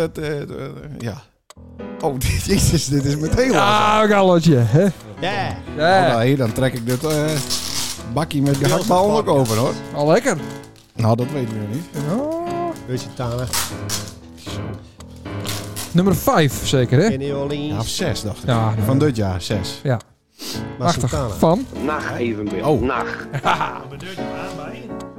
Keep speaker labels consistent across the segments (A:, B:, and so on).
A: Het, eh, eh, eh, ja. Oh, dit- jezus, dit is meteen ja.
B: Ja, een Ah, galletje, hè?
C: Ja.
B: Ja,
A: nee, dan trek ik dit eh, bakkie met gehaktbal ook over, hoor.
B: al lekker.
A: Nou, dat weten we niet.
B: Ja.
C: Beetje tana.
B: Nummer 5 zeker, hè?
C: In
A: Ja, of
C: Orleans.
A: zes, dacht ik.
B: Ja, nee.
A: Van dit jaar, zes.
B: Ja,
C: Machtig.
B: prachtig. Van?
D: Nacht evenbeeld.
A: Oh.
D: Nacht.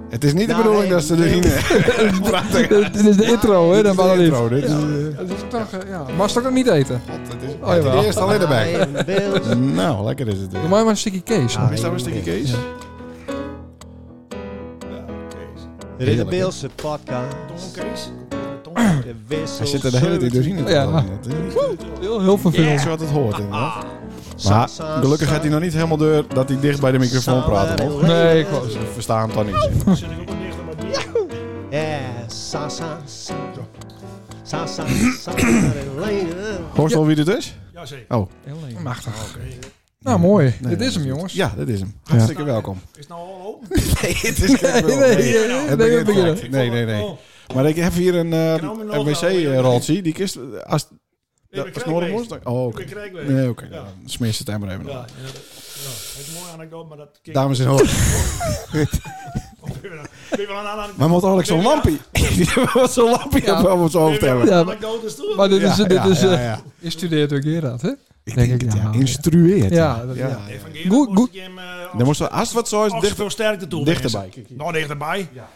A: Het is niet de
C: Nou,
A: bedoeling
C: nee,
A: dat ze erin... Prachtig.
B: Dit dit is de intro, hè?
A: Dit
B: Dan
A: is
B: maar
A: de
B: lief.
A: intro, dit is... eh,
B: Dat is toch, eh, ja. Mag ze toch nog niet eten?
A: Het is
B: Oh, jawel.
A: de eerste alleen erbij.
C: Even beeld.
A: Nou, lekker is het.
B: Doe mij maar een stukje Kees.
C: Ah,
A: Is dat een stukje Kees?
B: Ja.
C: Dit is de Beelse podcast. De wissel.
A: Hij zit er de hele tijd doorheen. in te
B: Ja.
A: vallen. Dat is niet-
B: Heel, heel
A: Dat
B: vervelend.
A: is wat het hoort, inderdaad.
C: Ah.
A: Maar gelukkig gaat hij nog niet helemaal door dat hij dicht bij de microfoon praat. hoor.
B: Nee, ik was-
A: Ze verstaan hem dan niet.
C: Ja, sa sa sa. Sa sa sa.
A: Hoort je al wie dit is?
E: Jazeker.
A: Oh,
B: Machtig.
E: Oké.
B: Nou, mooi.
A: Nee,
B: Dit is hem, jongens.
A: ja, dat is hem. Hartstikke welkom.
E: Is het nou al open? nou,
A: Nee, het is
B: Nee, nee, nee,
A: Het
B: nee, we
A: begint
B: beginnen.
A: gelijk. Nee, nee, nee.
E: Oh,
A: Maar ik heb hier een, eh,
E: Knal me nog
A: een
E: wel, ja.
A: wc-roltje. Die kist... eh, Als,
E: ik
A: dat
E: ben
A: is nodig
E: krijgbeest.
A: was, dan- Oh,
E: Ik
A: oké.
E: ben krijgbeest.
A: Nee, oké.
E: Ja.
A: Dan smeer ze het emmer even
E: Ja,
A: op.
E: ja, ja. Het is een mooie anekdote, maar dat... Kijk,
A: Dames en heren.
E: Kun je wel een aan-
A: Maar moet eigenlijk zo'n lampje... Die moet zo'n lampje
B: Ja.
A: op op zijn hoofd hebben.
B: Ja,
E: Ja,
B: maar-
E: maar dat is toch...
B: Maar dit
A: Ja,
B: is... Dit
A: ja,
B: is
A: ja,
B: eh,
A: ja.
B: je studeert ook Gerard, hè?
A: Ik
B: Denk
A: denk
B: ik,
A: het,
B: ja.
A: ja. Instrueert.
B: Ja, dat- ja. Goed,
E: Goed,
B: goed.
E: goed.
A: Dan moest er, als het wat zo is,
E: Dicht
A: dicht,
E: veel sterkte toe.
A: dichterbij.
E: wensen. Nou, dichterbij. Ja.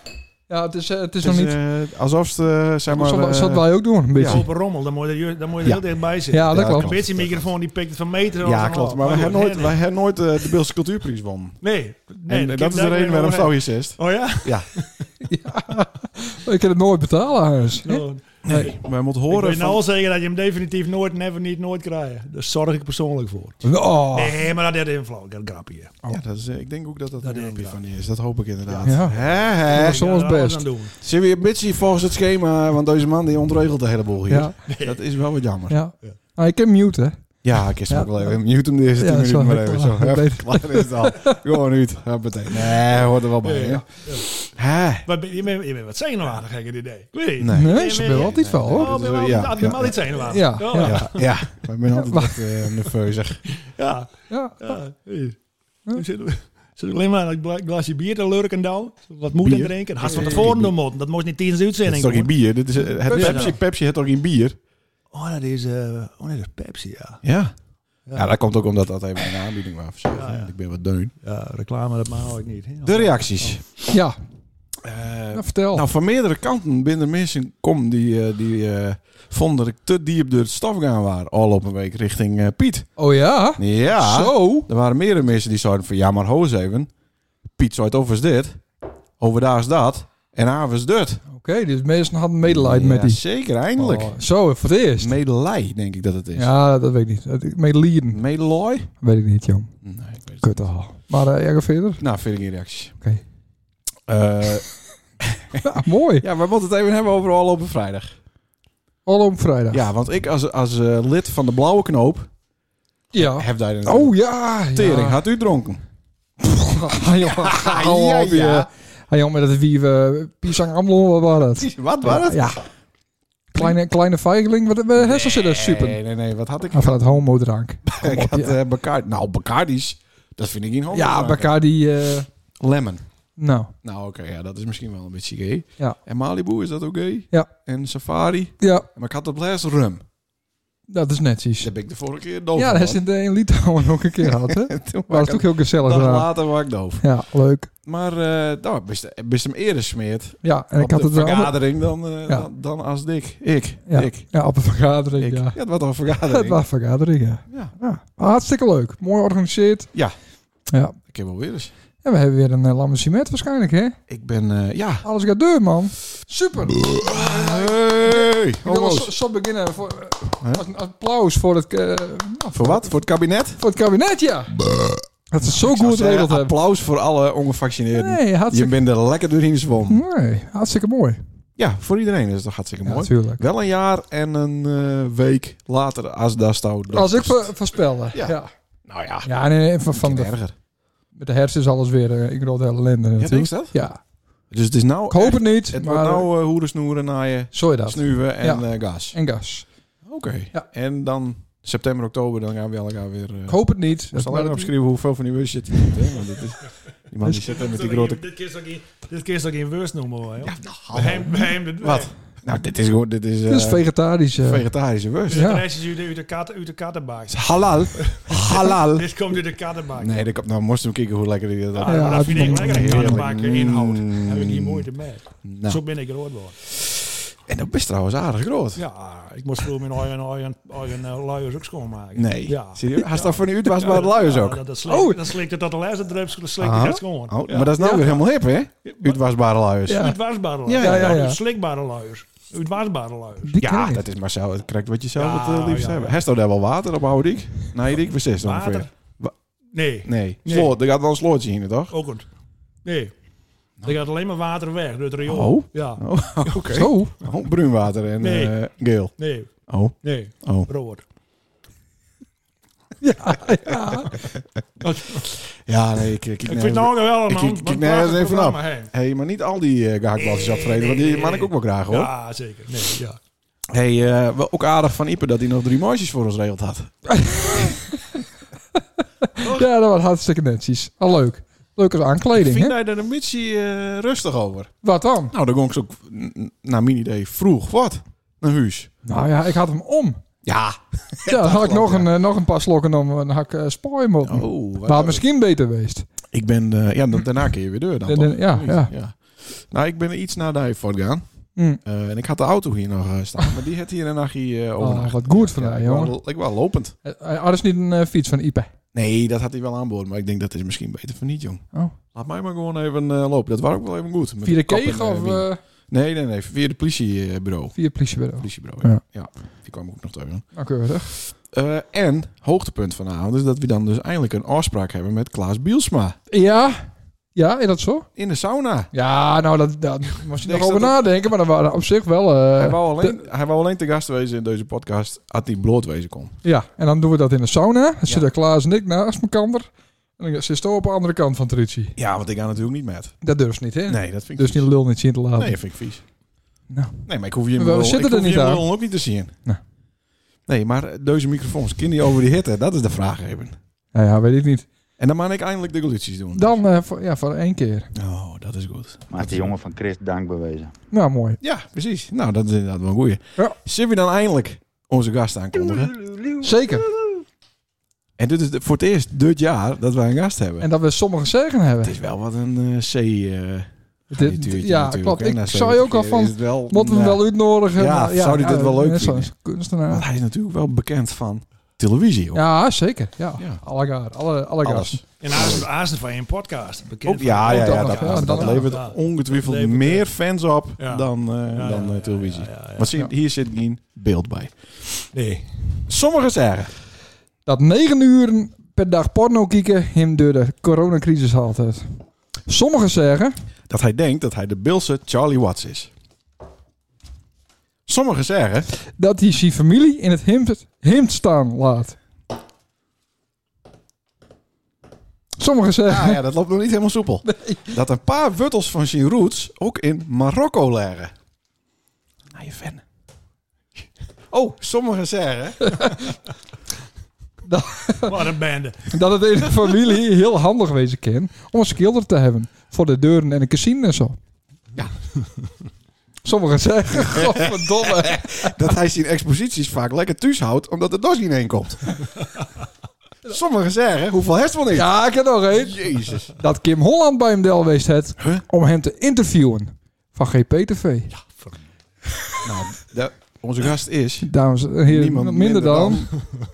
B: Ja, het is, eh, het is
A: Het
B: nog
A: is,
B: niet...
A: eh, alsof ze, eh, zeg maar...
B: Zal-
A: eh,
B: zal wij ook doen, een beetje.
E: Open rommel, dan moet je, er- dan moet je
A: Ja.
E: er heel dichtbij zitten.
B: Ja, dat
A: Ja,
B: klopt.
A: klopt.
E: Een beetje microfoon die pikt het van meter. of
A: ja,
E: van
A: klopt.
E: af.
A: Maar wij hebben
E: goed,
A: nooit,
E: nee,
A: wij hebben nooit eh, de Beelse Cultuurprijs won.
E: Nee, nee.
A: en eh, dat is de
E: daar-
A: reden waarom zo hier zit.
E: Oh ja?
B: Ik kan het nooit betalen, huis. hè?
E: Nou,
A: Nee, wij moeten
E: Ik
A: horen
E: weet nou
A: van...
E: al zeggen dat je hem definitief nooit, never, niet, nooit krijgt. Daar zorg ik persoonlijk voor.
B: Oh.
E: Nee, maar dat is een flauw, dat grapje.
A: Ah. Ja, dat is, eh, ik denk ook dat dat,
E: Dat
A: een
E: denk ik
A: grapje
E: wel.
A: van die is. Dat hoop ik inderdaad.
B: Ja.
A: Hè, hè.
B: Ja. Soms best.
A: Zijn we een beetje volgens het schema, want deze man die ontregelt de hele boel hier.
B: Ja,
A: Dat is wel wat jammer. Ja,
B: ja. Ah, ik heb mute, hè?
A: ik is hem
B: Ja.
A: ook wel even. Mute hem de eerste
B: Ja,
A: 10 minuten maar even.
B: sorry.
A: Zo, hè,
B: Ja, beter.
A: klaar is het al. Gewoon uit. Hoppatee. Nee, hoort er wel bij. hè.
E: Ja,
A: Hè?
E: Wat ben, je, bent, je bent wat zenuwachtig, gek het idee. Ik weet het niet.
A: Nee.
B: Nee, ze ben altijd wel, hoor.
E: Oh, ben je
A: Ja,
E: wel ja, ja,
A: ja.
E: zenuwachtig?
B: Ja,
E: Oh,
B: ja.
E: ja.
A: Ja, ja. Maar ik ben altijd uh, nerveus. zeg.
E: Ja,
B: Ja.
E: ja. Hier. Ik Zit zit alleen maar een gla- glaasje bier te lurken dan. Wat moet
A: Bier?
E: je drinken? Had ze van tevoren doen moeten. Dat moest niet tijdens de
A: Het is
E: uitzending
A: toch geen
E: doen.
A: bier? Dit is, eh, het
E: Pepsi.
A: Pepsi, Pepsi heeft toch geen bier?
E: Oh, dat is, eh, oh, nee, dat is Pepsi, ja.
A: Ja.
E: Ja.
A: Ja, dat komt ook omdat dat even een aanbieding was. Ja,
E: Ja, ja.
A: Ik ben wat deun.
E: Ja, reclame, dat mag ik niet. hè.
A: De reacties.
B: Ja,
E: Oh.
A: Eh,
B: nou, vertel.
A: nou, van meerdere kanten binnen mensen kom die, eh, die eh, vonden dat ik te diep door het stof gaan waren. Al op een week richting eh, Piet.
B: Oh ja?
A: Ja.
B: Zo?
A: Er waren meerdere mensen die zeiden van ja, maar hoos even. Piet zei het over dit. Overdag is dat. En avonds dit.
B: Oké, dus mensen hadden medelijden met
A: Ja,
B: die.
A: Zeker, eindelijk.
B: Oh, zo, voor het eerst.
A: Medelij, denk ik dat het is.
B: Ja, dat weet ik niet. Dat- Medelijden.
A: Mm. Medelooi?
B: Weet ik niet, jong.
A: Nee, ik weet het
B: Kut al. Maar eh, jij gaat verder?
A: niet. Nou, vind ik geen reacties.
B: Oké.
A: Eh,
B: Ja, mooi.
A: ja, we moeten het even hebben over al op een vrijdag.
B: Al om vrijdag.
A: Ja, want ik als, als eh, lid van de blauwe knoop
B: Ja.
A: heb daar een
B: Oh ja.
A: tering.
B: ja.
A: Had u dronken?
B: Ah, jongen, hou
A: Ja,
B: op, je.
A: ja.
B: Ah, jongen, dat wie eh, we Pisang Amlo, wat was dat?
A: Wat was het?
B: Ja. Kleine, kleine vijgeling, wat hebben hersens zitten super.
A: Nee, nee, nee. Wat had ik?
B: Ah, van het homodrank.
A: ik had
B: ja.
A: eh, Bacardi. Nou, Bacardi's. Dat vind ik geen homo.
B: Ja, Bacardi. eh
A: Lemon.
B: nou,
A: Nou, oké. ja, dat is misschien wel een beetje gay.
B: Ja.
A: En Malibu, is dat ook gay?
B: Ja.
A: En Safari.
B: ja,
A: Maar ik had op laatst rum.
B: dat is netjes.
A: Dat heb ik de vorige keer doof
B: Ja, dat
A: dat
B: is in, in Litouwen ook een keer gehad, hè? Was het ook heel gezellig. eh,
A: Dag
B: daar.
A: later was ik doof.
B: Ja, leuk.
A: Maar eh nou, best, best hem eerder smeert
B: Ja, en
A: op
B: ik had
A: de
B: het wel.
A: vergadering dan, eh,
B: Ja.
A: dan, dan als Dick. Ik.
B: Ja,
A: Ik.
B: ja, op een vergadering,
A: Ik. Ja,
B: ja.
A: het was al een
B: Het
A: vergadering.
B: was vergadering, ja.
A: Ja,
B: ja. Maar hartstikke leuk. Mooi georganiseerd.
A: Ja.
B: Ja.
A: ik heb wel weer eens.
B: En we hebben weer een uh, lamme cement waarschijnlijk, hè?
A: Ik ben, eh, ja.
B: Alles gaat deur, man. Super.
A: Hey,
B: Ik wil
A: homo's.
B: zo, zo beginnen. Voor, eh,
A: Hè?
B: als een applaus voor het, eh,
A: Voor wat? Voor het kabinet?
B: voor het kabinet, ja. Dat ze het zo
A: Nou, Ik zou
B: goed
A: zeggen,
B: geregeld hebben.
A: Applaus voor alle ongevaccineerden.
B: Nee,
A: Je
B: hartstikke,
A: bent er lekker doorheen zwom.
B: nee, hartstikke mooi.
A: Ja, voor iedereen is het toch hartstikke
B: Ja,
A: mooi.
B: natuurlijk.
A: wel een jaar en een eh, week later als daar stout.
B: Als ik ver, voorspelde.
A: Ja.
B: Ja. ja.
A: Nou ja,
B: en eh, van, van
A: van
B: de,
A: erger.
B: met de hersen is alles weer eh, ik rood hele ellende
A: Ja,
B: natuurlijk.
A: denk je dat?
B: Ja.
A: Dus het is nou
B: Ik hoop
A: echt-
B: het niet,
A: Het
B: maar
A: wordt nou eh, hoeren, snoeren, naaien,
B: zo je dat.
A: snuwen en
B: Ja.
A: eh, gas.
B: En gas.
A: Oké.
B: Ja.
A: En dan september, oktober, dan gaan we elkaar weer... eh,
B: Ik hoop het niet.
A: Ik zal
B: Maar
A: alleen
B: dat-
A: opschrijven hoeveel van die bus zit hier niet, hè? Want dit is, die man die
B: Dus-
A: zit er met die grote...
E: Dit keer is ook in- dit keer is ook in worst noemen hoor. joh.
A: hallo.
B: nou,
E: Bij hem- bij hem de-
A: Wat? Nou, dit is gewoon... Dit is,
B: Het is
A: eh,
B: vegetarisch. eh.
A: vegetarische bus.
E: Dus de
B: Ja.
E: rest is uit de- uit de kat- uit de kattenbak.
A: Het is halal. Halal.
E: Dit komt uit de kattenbak.
A: Nee, dat komt- nou moest hem kijken hoe lekker die dat...
E: Ah,
B: Ja,
E: dat vind ik
B: het-
E: lekker, een kattenbak
A: Mm.
E: inhoud. Daar heb ik hier moeite mee.
A: Nou,
E: Zo ben ik groot geworden.
A: en dat is trouwens aardig groot.
E: Ja, ik moest vroeger mijn eigen, eigen, eigen eh, luiers ook schoonmaken.
A: Nee.
E: Ja.
A: Serieus? Hij staat van u uit was
E: Ja,
A: bij de luiers
E: ja,
A: ook.
E: Dat, dat slikt,
B: Oh.
E: dat slikt het tot de laatste drup, dat slikt
A: Aha.
E: het net schoon.
A: Oh, Maar dat is nou
E: Ja.
A: weer helemaal hip, hè? Uitwasbare luiers.
B: Ja.
E: Uitwasbare luiers.
A: Ja,
B: ja, ja, ja.
E: Slikbare luiers. Uitwasbare luiers.
B: Die ken
A: Ja,
B: ik.
A: dat is maar zo. Het krijgt wat je zelf
E: Ja,
A: het eh, liefst
E: ja.
A: hebben. Hij staat daar wel water op oude dik? Nee, dik precies dan ongeveer.
E: Water?
A: Wa-
E: Nee,
A: Nee.
E: Nee.
A: Sloot. Er gaat wel een slootje in, toch?
E: ook niet. Nee. Er gaat alleen maar water weg door het riool.
A: Nou. Oh.
E: Ja.
A: Oh, oké.
B: Zo.
A: Oh, bruinwater en
E: Nee.
A: eh, geel.
E: Nee,
A: Oh,
E: nee.
A: oh.
E: Rood.
B: Ja, ja.
A: Ja, nee, ik, ik,
E: Ik vind het nou wel een
A: ik- ik-
E: hand-
A: ik-
E: want
A: nee,
E: het
A: dat is
E: een
A: even
E: programma heen.
A: Hé, hey, maar niet al die eh gehaktballetjes
E: Nee,
A: afvreten, want
E: nee,
A: die
E: nee,
A: maak ik ook wel graag, hoor.
E: Ja, zeker. Nee, ja.
A: Hey, eh, wel ook aardig van Ipe dat hij nog drie mooisjes voor ons regeld had.
B: ja, dat was hartstikke netjes. Al leuk. Leuke aankleding,
A: Vind
B: hè?
A: jij daar een beetje eh, rustig over?
B: Wat dan?
A: Nou, dan ging ik zo, n- naar mijn idee, vroeg wat? Naar huis.
B: Nou ja, ik had hem om.
A: Ja.
B: Ja, dan had ik
A: klopt,
B: nog,
A: ja.
B: een, eh, nog een paar slokken om. Dan had ik eh spoor moeten.
A: Oh, wat-
B: Maar had misschien beter geweest.
A: Ik ben, eh, ja, dan- daarna keer je weer deur dan.
B: Dan-
A: toch?
B: dan- ja,
A: Zoiets,
B: ja.
A: Nou, ik ben iets naar de Eifort gegaan.
B: Hm.
A: Eh, en ik had de auto hier nog eh, staan, maar die had hier een nachtje eh, overnacht.
B: Ah, wat goed van jou,
A: ik Oh. wou-
B: jongen.
A: Ik was lopend.
B: Eh, eh, ah, dat is niet een eh, fiets van Ipe.
A: Nee, dat had hij wel aanboord, maar ik denk dat is misschien beter voor niet, jong.
B: Oh.
A: Laat mij maar gewoon even eh, lopen. Dat was ook wel even goed. Met
B: Via de
A: kop in,
B: kegel
A: eh,
B: of
A: wien.
B: eh,
A: Nee, nee, nee. Via de politiebureau. Eh,
B: via het politiebureau?
A: Politiebureau, ja.
B: Ja.
A: ja. Die kwam ook nog tegen.
B: Nou, keurig.
A: Eh, en, hoogtepunt vanavond, is dat we dan dus eindelijk een afspraak hebben met Klaas Bielsma.
B: Ja. Ja, is dat zo?
A: In de sauna.
B: Ja, nou, dat, dat moest je
A: Niks
B: nog over
A: dat-
B: nadenken. Maar dat waren op zich wel... eh,
A: hij, wou alleen, hij wou alleen te gast wezen in deze podcast, had hij bloot wezen kon.
B: Ja, en dan doen we dat in de sauna. Dan zitten
A: Ja.
B: Klaas en ik naast elkaar. En dan zit ze op de andere kant van Trudy.
A: Ja, want ik ga natuurlijk niet met.
B: Dat durft niet, hè?
A: Nee, dat vind ik
B: Dus die
A: vies.
B: lul niet zien te laten.
A: Nee, dat vind ik vies.
B: Nou.
A: Nee, maar ik hoef je in
B: We
A: mijn lul-
B: zitten
A: ik
B: er
A: hoef je
B: niet
A: in mijn
B: aan.
A: lul ook niet te zien.
B: Nee.
A: Nee, maar deze microfoons, kunnen die over die hitte? Dat is de vraag even.
B: Nou ja, weet ik niet.
A: En dan mag ik eindelijk de glitches doen.
B: Dan eh, voor, ja, voor één keer.
A: Oh, dat is goed.
D: Maar het is de jongen van Chris dank bewezen.
B: Nou, mooi.
A: Ja, precies. Nou, dat is inderdaad wel een goeie.
B: Ja.
A: Zullen we dan eindelijk onze gast aankondigen?
B: Zeker.
A: En dit is de- voor het eerst dit jaar dat wij een gast hebben.
B: En dat we sommigen zeggen
A: het
B: hebben.
A: is wel wat een eh, C... eh garnituurtje
B: ja,
A: natuurlijk,
B: klopt.
A: hè.
B: Ik
A: Na
B: zou
A: 70
B: ook al
A: keer
B: van-
A: is het wel,
B: Moeten we hem
A: nou,
B: wel uitnodigen?
A: Ja,
B: Nou,
A: zou die dit wel leuk
B: net zoals
A: vinden? Want
B: Kunstenaar.
A: hij is natuurlijk wel bekend van televisie. hoor.
B: Ja, zeker. Ja,
A: Ja.
B: alle gaar. Alle, alle
A: Alles.
B: gasten.
E: En Azen, Azen van je podcast. Bekend
A: Ook,
E: van-
A: ja, ja,
B: ook
A: ja,
B: Oh, dat
A: dat,
B: nog, ja,
A: dat,
B: dat nog.
A: levert
E: Ja.
A: ongetwijfeld
E: Dat levert,
A: meer fans op
E: Ja.
A: dan, eh,
E: Ja,
A: dan eh,
E: ja, ja,
A: televisie.
E: ja, ja, ja.
A: Maar zie-
B: Ja.
A: hier zit geen beeld bij.
E: Nee.
A: Sommigen zeggen...
B: Dat negen uur per dag porno kieken hem door de coronacrisis haalt het. Sommigen zeggen...
A: dat hij denkt dat hij de Bilse Charlie Watts is. Sommigen zeggen,
B: dat hij zijn familie in het hemd, hemd staan laat. Sommigen zeggen,
A: ah ja, dat loopt nog niet helemaal soepel, dat een paar wuttels van zijn roots ook in Marokko leren. Nou, je fan. Oh, sommigen zeggen
E: Wat een bende.
B: dat het in de familie heel handig wezen kan om een schilder te hebben voor de deuren en een casino en zo.
A: Ja.
B: Sommigen zeggen, godverdomme.
A: dat hij zijn exposities vaak lekker thuis houdt, omdat er dos niet heen komt. Sommigen zeggen, hoeveel heeft wel niet?
B: Ja, ik heb nog één.
A: Jezus.
B: Dat Kim Holland bij hem del geweest het
A: Huh?
B: om hem te interviewen van GPTV.
A: Nou, de- onze gast is
B: Dames en heren,
A: niemand
B: minder, dan,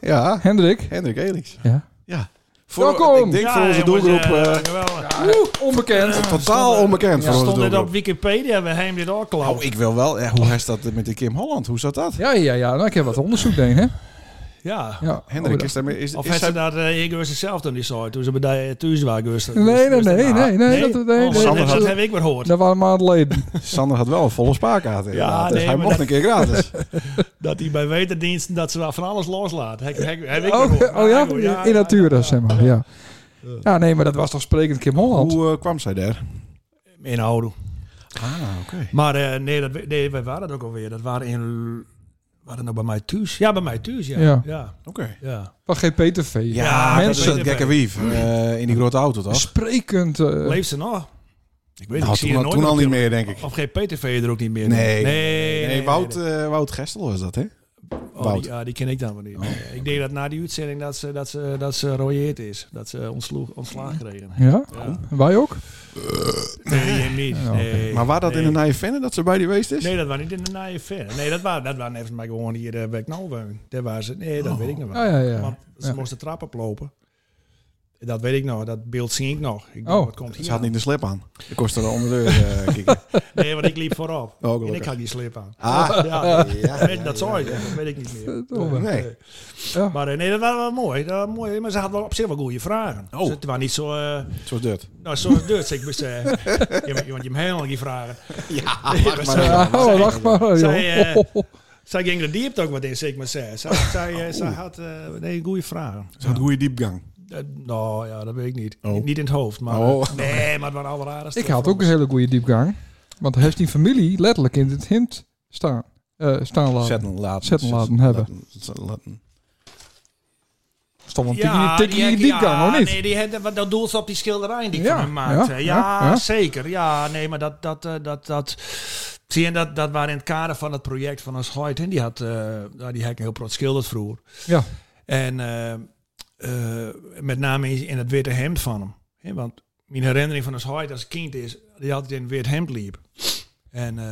A: Ja,
B: Hendrik.
A: Hendrik Elix.
B: Ja.
A: Ja. Voor,
B: Welkom.
A: Ik denk
E: Ja,
A: voor onze
E: jongens,
A: doelgroep...
E: eh,
A: eh,
E: geweldig.
B: Oeh, onbekend.
A: Totaal onbekend voor ons
E: Stond dit
A: doelgroep.
E: op Wikipedia, we hebben dit al klauw.
A: Nou, ik wil wel. eh, hoe is dat met de Kim Holland? Hoe zat dat?
B: Ja, ja, ja. Nou, ik heb wat onderzoek deed, hè.
E: Ja.
B: Ja.
A: Hendrik,
B: Oh,
A: is, daarmee- is,
E: Of
A: is
E: heeft ze
A: zij-
E: dat eh ik zelf dan niet zo toen ze bij de thuis waren geweest?
B: Nee, nee, nee, nee, nee, dat- nee,
E: nou? Oh,
B: nee,
E: dat-
A: dat-
E: dat heb ik weer gehoord.
B: Dat waren maanden geleden.
A: Sander had wel een volle spaarkaart inderdaad. dus
E: nee,
A: hij
E: maar
A: mocht
E: dat-
A: een keer gratis.
E: Dat hij bij wetendiensten dat ze daar van alles loslaat. Heb, heb, heb ik weer
B: Oh,
E: gehoord.
B: oh ja?
E: goed,
B: In natura, zeg maar. Ja. ja, nee, maar dat was toch sprekend Kim Holland?
A: hoe eh, kwam zij daar?
E: In Oudo.
A: Ah, oké.
E: Maar eh, nee, dat, we- nee, wij waren dat ook alweer. Dat waren in... Waren dat nou bij mij thuis? Ja, bij mij thuis, ja.
B: Ja.
E: Ja, ja.
A: Oké.
B: Van GPTV.
A: Ja,
E: Ja,
A: dat
B: mensen-
A: is het gekke wief. eh, in die grote auto, toch?
B: Sprekend. eh,
E: Leeft ze nog? Ik weet het,
A: Nou,
E: Dus- ik
A: toen,
E: zie je nooit
A: toen
E: meer
A: al
E: op
A: niet
E: tele-
A: meer, denk ik.
E: Of GPTV er ook niet meer.
A: Nee.
E: Nee, nee,
A: Nee,
E: nee,
A: Wout,
E: nee.
A: eh, Wout Gestel was dat, hè?
E: Oh,
A: Wout.
E: die, ja, die ken ik dan wel
A: Oh.
E: niet. Ik denk dat na die uitzending dat ze, dat ze, dat ze royeerd is. Dat ze ontsloeg, ontslagen kregen.
B: ja,
E: Ja.
B: wij ook.
E: Nee, je niet.
B: Ja, oké.
E: Nee.
A: Maar waar dat
E: nee.
A: in de Nije Venne dat ze bij die geweest is?
E: Nee, dat was niet in de naaie ver. Nee, dat waren dat waren even maar gewoon hier eh, bij Knalweun. Daar waren ze. Nee,
A: Oh.
E: dat weet ik nog wel.
B: Ja, ja, ja.
E: Want ze
B: Ja.
E: moesten trap oplopen. Dat weet ik nog. Dat beeld zie ik nog. Ik
B: Oh.
E: dacht, wat komt hier
A: Ze had
E: aan?
A: niet de slip aan. Dat kostte er onder de deur, eh, kikken.
E: Nee, want ik liep voorop.
A: Oh, gelukkig.
E: en ik had die slip aan.
A: Ah,
E: Ja, nee.
A: ja,
E: Weet- dat zou je, dat weet ik niet meer.
B: Verdomme.
A: nee.
E: Maar eh, nee, dat was wel mooi. Dat was mooi. Maar ze had wel op zich wel goede vragen.
A: Oh.
E: Ze- Het was niet zo... eh,
A: Zoals dit.
E: nou, zo Duits. Ik moest... eh, je, moet- je moet je hem helemaal niet vragen.
A: Ja,
E: maar zo.
B: Ja,
E: Zij-
B: Oh, wacht maar.
E: zij,
B: joh.
E: Zij ging er diep ook wat in, zeg ik maar zeggen. Zij, zij, eh, zij had eh, nee, goede vragen.
A: Ze had goede diepgang.
E: Eh, nou ja, dat weet ik niet.
A: Oh.
E: Niet in het hoofd, maar...
A: Oh.
E: eh, nee, maar het waren allemaal rare
B: Ik had ook een hele goede diepgang. Want hij heeft die familie letterlijk in het hint staan, eh, staan laten.
A: Zetten laten.
B: Zetten laten hebben.
A: Laten- laten.
B: Stond een
E: Ja,
B: tikkie, tikkie
E: die-
B: diepgang,
E: ja,
B: hoor niet?
E: Nee, die had, want dat doel ze op die schilderij die ik
B: Ja,
E: van hem maakte.
B: ja,
E: Ja,
B: ja, ja.
E: zeker. Ja, nee, maar dat... dat, eh, dat, dat zie je, dat, dat waren in het kader van het project van een schuit. En die had, eh nou, die had ik heel prot schilderd vroeger.
B: Ja.
E: En eh, eh, met name in, in het witte hemd van hem. Hè, want mijn herinnering van een schuit als kind is... Die altijd in een wit hemd liep. En... eh,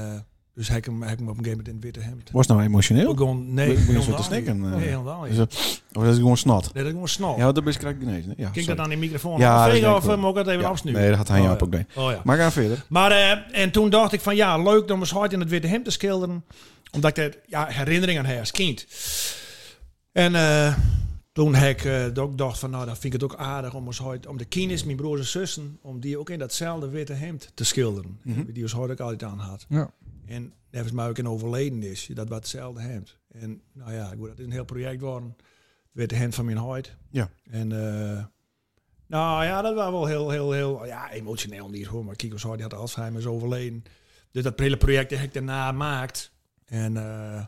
E: dus heb ik hem, heb ik hem op een gegeven moment in het witte hemd.
A: Was nou emotioneel?
E: Ook gewoon, nee,
A: Moet je zo te
E: helemaal niet.
A: snikken, eh.
E: Nee, helemaal niet.
A: Is dat- Dus, eh, Of dat is gewoon snot?
E: Nee, dat is gewoon snel.
A: Ja, dat is krijg ik ineens. hè? Ja,
E: Oh. Kijk
A: sorry.
E: dat aan die microfoon.
A: Ja,
E: Ja,
A: dat is
E: vegen
A: denk
E: of
A: ik
E: eh,
A: wel.
E: moet ik het even
A: Ja.
E: afsnuren?
A: Nee, dat had hij jou
E: ja.
A: ook niet.
E: Oh, ja.
A: Maar ga verder.
E: Maar eh, en toen dacht ik van ja, leuk om eens hard in het witte hemd te schilderen. Omdat ik er ja, herinneringen heb als kind. En eh, toen heb ik eh, ook dacht van nou, dan vind ik het ook aardig om eens hard, om de kinders, mijn broers en zussen, om die ook in datzelfde witte hemd te schilderen.
A: Mhm.
E: Die ons hard ook altijd aan had.
B: Ja.
E: En nevens mij ook een overleden is, dat was hetzelfde hemd. En nou ja, goed, dat is een heel project geworden. Het witte hemd van mijn hart.
A: Ja.
E: En eh, nou ja, dat was wel heel, heel, heel ja, emotioneel niet hoor. Maar Kiko Zwart die had Alzheimer is overleden. Dus dat hele project dat ik daarna maakt. En eh,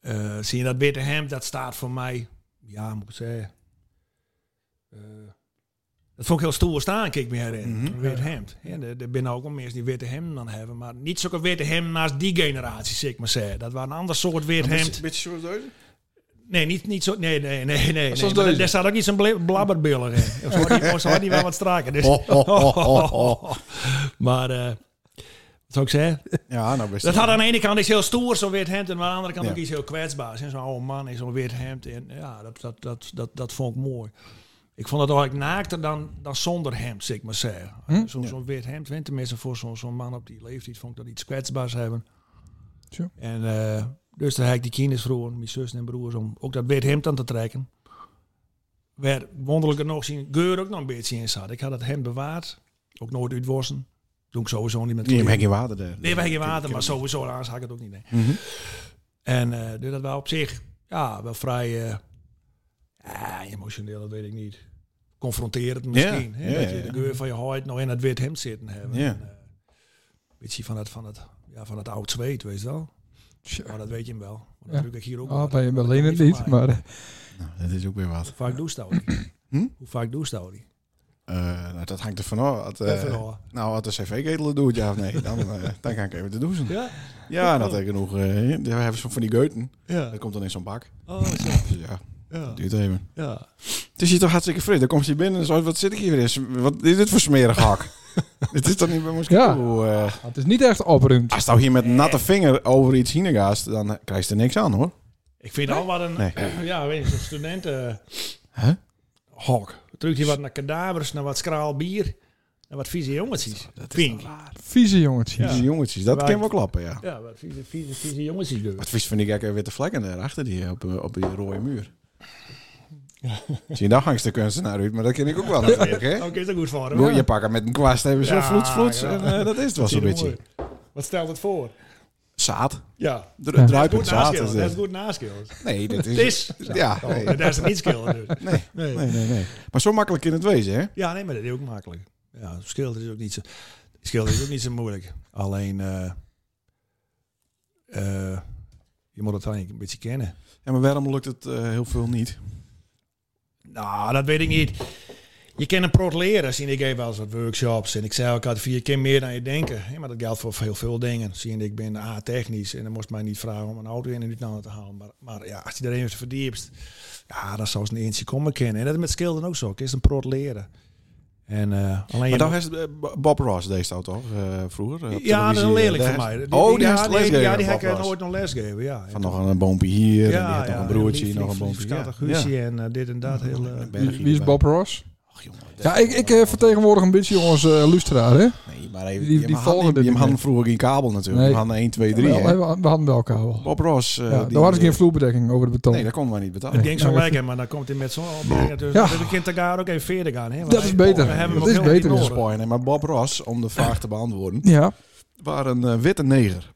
E: eh, zie je dat witte hemd, dat staat voor mij. Ja, moet ik zeggen. Eh, dat vond ik heel stoer staan, kijk me herinneren.
A: Mhm.
E: Een wit hemd. Ja, er er binnen ook wel mensen die witte hemden dan hebben. Maar niet zulke witte hemden naast die generatie, zeg ik maar zeggen. Dat waren een ander soort wit hemd.
A: Beetje zoals deze?
E: Nee, niet, niet zo. Nee, nee, nee, nee.
B: Zoals
E: nee. Maar
B: deze.
E: Daar staat ook niet zo'n bla- blabberbillen in. Of zo had die- of zo had die wel wat straker. Dus.
A: Ho, ho, ho, ho, ho.
E: Maar, eh, wat zou ik zeggen?
A: Ja, nou best.
E: Dat had aan de ene kant iets heel stoer, zo'n wit hemd. En aan de andere kant
A: Ja.
E: ook iets heel kwetsbaars. En Zo'n oude man in zo'n wit hemd. En ja, dat, dat, dat, dat, dat vond ik mooi. Ik vond dat eigenlijk naakter dan, dan zonder hemd, zeg ik maar zeggen. Eh,
B: Hm?
E: Zo'n
A: Ja.
E: zo'n wit hemd, hè, tenminste voor zo'n zo'n man op die leeftijd, vond ik dat iets kwetsbaars hebben.
B: Tja.
E: En eh, dus daar heb ik die kinders vroeger, mijn zus en broers, om ook dat wit hemd aan te trekken. Waar wonderlijk nog zien geur ook nog een beetje in zat. Ik had dat hemd bewaard, ook nooit uitwassen. Doe ik sowieso niet met
A: Nee, maar
E: kleren.
A: geen water daar.
E: Nee, wij geen water,
A: Ik-
E: maar sowieso anders had ik het ook niet. Nee.
A: Mhm.
E: En eh, dus dat wel op zich, ja, wel vrij eh, ja, emotioneel, dat weet ik niet. Confronterend misschien. hè,
A: ja,
E: dat
A: ja, ja.
E: je de geur van je hart nog in het wit hemd zitten hebben.
A: Ja.
E: En, eh, beetje van het, van het, ja, van het oud zweet, weet je wel.
B: Tja.
E: Maar dat weet je hem wel. Want
B: Ja.
E: Dat doe ik hier ook
B: Ah,
E: wel.
B: bij
E: Dat kan
B: Berlijn het
E: van
B: niet,
E: mij.
B: maar... eh,
A: Nou, dat is ook weer wat.
E: Hoe vaak doe je dat ook niet?
A: Hm?
E: Hoe vaak doe je dat ook niet?
A: Eh, nou, dat hangt er vanaf. Had, eh,
E: Even hoor.
A: nou, als de cv-ketel doet, ja of nee, dan, eh, dan ga ik even te douchen. Ja,
E: Ja? Oh.
A: dat heb ik genoeg. eh we hebben zo van die geuten.
E: Ja.
A: Dat komt dan in zo'n bak.
E: Oh, zo.
A: Dus ja,
E: Ja.
A: dat duurt even.
E: ja.
A: Het is hier toch hartstikke fris. Dan komt hij binnen en zo, wat zit ik hier weer eens? Wat is dit voor smerig hak? dit is toch niet bij Mosquito? eh
B: Het is niet echt opruimd.
A: als nou hier met natte vinger over iets heen gaat, dan eh, krijg je er niks aan hoor.
E: Ik vind al wat een,
A: Nee.
E: ja, weet je, zo'n studenten...
A: Huh?
E: Hok. Terug die wat naar kadavers, naar wat skraal bier, naar wat vieze jongetjes. Pink.
B: Vieze jongetjes.
A: Dus Die jongetjes, dat
E: Waar
A: kan
E: ik-
A: wel klappen, ja.
E: Ja, wat vieze, vieze, vieze jongetjes. dus. doen.
A: Wat vies van die gekke witte vlekken daarachter die op, eh, op die rode muur. Zie je, daar hangt de kunstenaar uit, maar dat ken ik ook wel natuurlijk, hè?
E: Oké, is dat goed voor hem.
A: Moet
E: ja.
A: Je pakken met een kwast even zo
E: Ja,
A: vloets, vloets.
E: ja.
A: En, eh, dat is het wel zo'n
E: Zie je
A: beetje.
E: mooi. Wat stelt het voor?
A: Zaad.
E: Ja.
A: Dru-
B: Ja.
A: Druipend
E: Goed
A: zaad.
E: naskillen.
A: is
E: Dat is
A: dit.
E: goed naskillen.
A: Nee, dat
E: Het
A: is...
E: is.
A: Ja,
E: Oh,
A: nee.
E: Daar is het niet skillen. Dus.
A: Nee.
E: Nee.
A: Nee, nee, nee. Maar zo makkelijk in het wezen, hè?
E: Ja, nee, maar dat is ook makkelijk. Ja, het verschil is ook niet zo. Schilderen is ook niet zo moeilijk. Alleen, eh, eh, je moet het eigenlijk een beetje kennen.
A: Ja, maar waarom lukt het eh, heel veel niet?
E: Nou, dat weet ik niet. Je kan een prot leren, zie ik geef wel eens wat workshops. En ik zei ook altijd, vier keer meer dan je denken. Ja, maar dat geldt voor heel veel dingen. Zie je, ik ben A, technisch en dan moest mij niet vragen om een auto in en uit naar te halen. Maar, maar ja, als je er even verdiept, ja, dan zou ze een eentje komen kennen. En dat is met skilden ook zo. Ik is een prot leren. En, eh, alleen je
A: Maar daar
E: moet-
A: heeft eh, B- Bob Ross deze auto toch eh, vroeger? eh, op
E: ja, dat is een
A: televisie.
E: leerling
A: Daar
E: van mij.
A: heeft- oh, die
E: ja,
A: heeft lesgegeven,
E: Ja, die
A: Bob
E: heb ik
A: Ross.
E: nooit nog lesgeven, ja.
A: Van nog een boompje hier, en die
E: ja,
A: heeft nog
E: ja,
A: een broertje,
E: lief,
A: nog een
E: lief,
A: boompje.
E: liefschattig
A: Ja.
E: huisje
A: Ja.
E: en eh, dit en dat. Heel, eh,
A: Een bergje
B: Wie, wie is
A: erbij.
B: Bob Ross?
A: Ach, jongen, dat
B: Ja,
A: is
B: ik, ik eh, vertegenwoordig een beetje onze eh, luisteraar, hè?
A: Nee, maar even,
B: Die-
A: je
B: die
A: had
B: volgen
A: niet-
B: dit
A: Je
B: niet
A: had
B: meer.
A: vroeger geen kabel natuurlijk.
B: Nee.
A: Je had 1, 2, 3.
B: Wel,
A: hè?
B: hè, we, we hadden wel kabel.
A: Bob Ross. eh,
B: ja,
A: die-
B: daar hadden ze geen vloerbedekking over de beton.
A: Nee, dat kon maar niet betalen.
E: Het ging zo
B: Ja.
E: lekker, maar dan komt hij met zo'n opmerking. Dus
B: Ja.
E: ja. we kunnen elkaar ook even verder gaan. Hè? Want
B: Dat is
E: hij-
B: beter.
E: We hebben
B: Dat
E: hem ook
B: is
E: helemaal
B: beter.
E: niet
A: Niet
E: nodig.
A: spoilen, maar Bob Ross, om de vraag te beantwoorden,
B: Ja,
A: waren een eh, witte neger.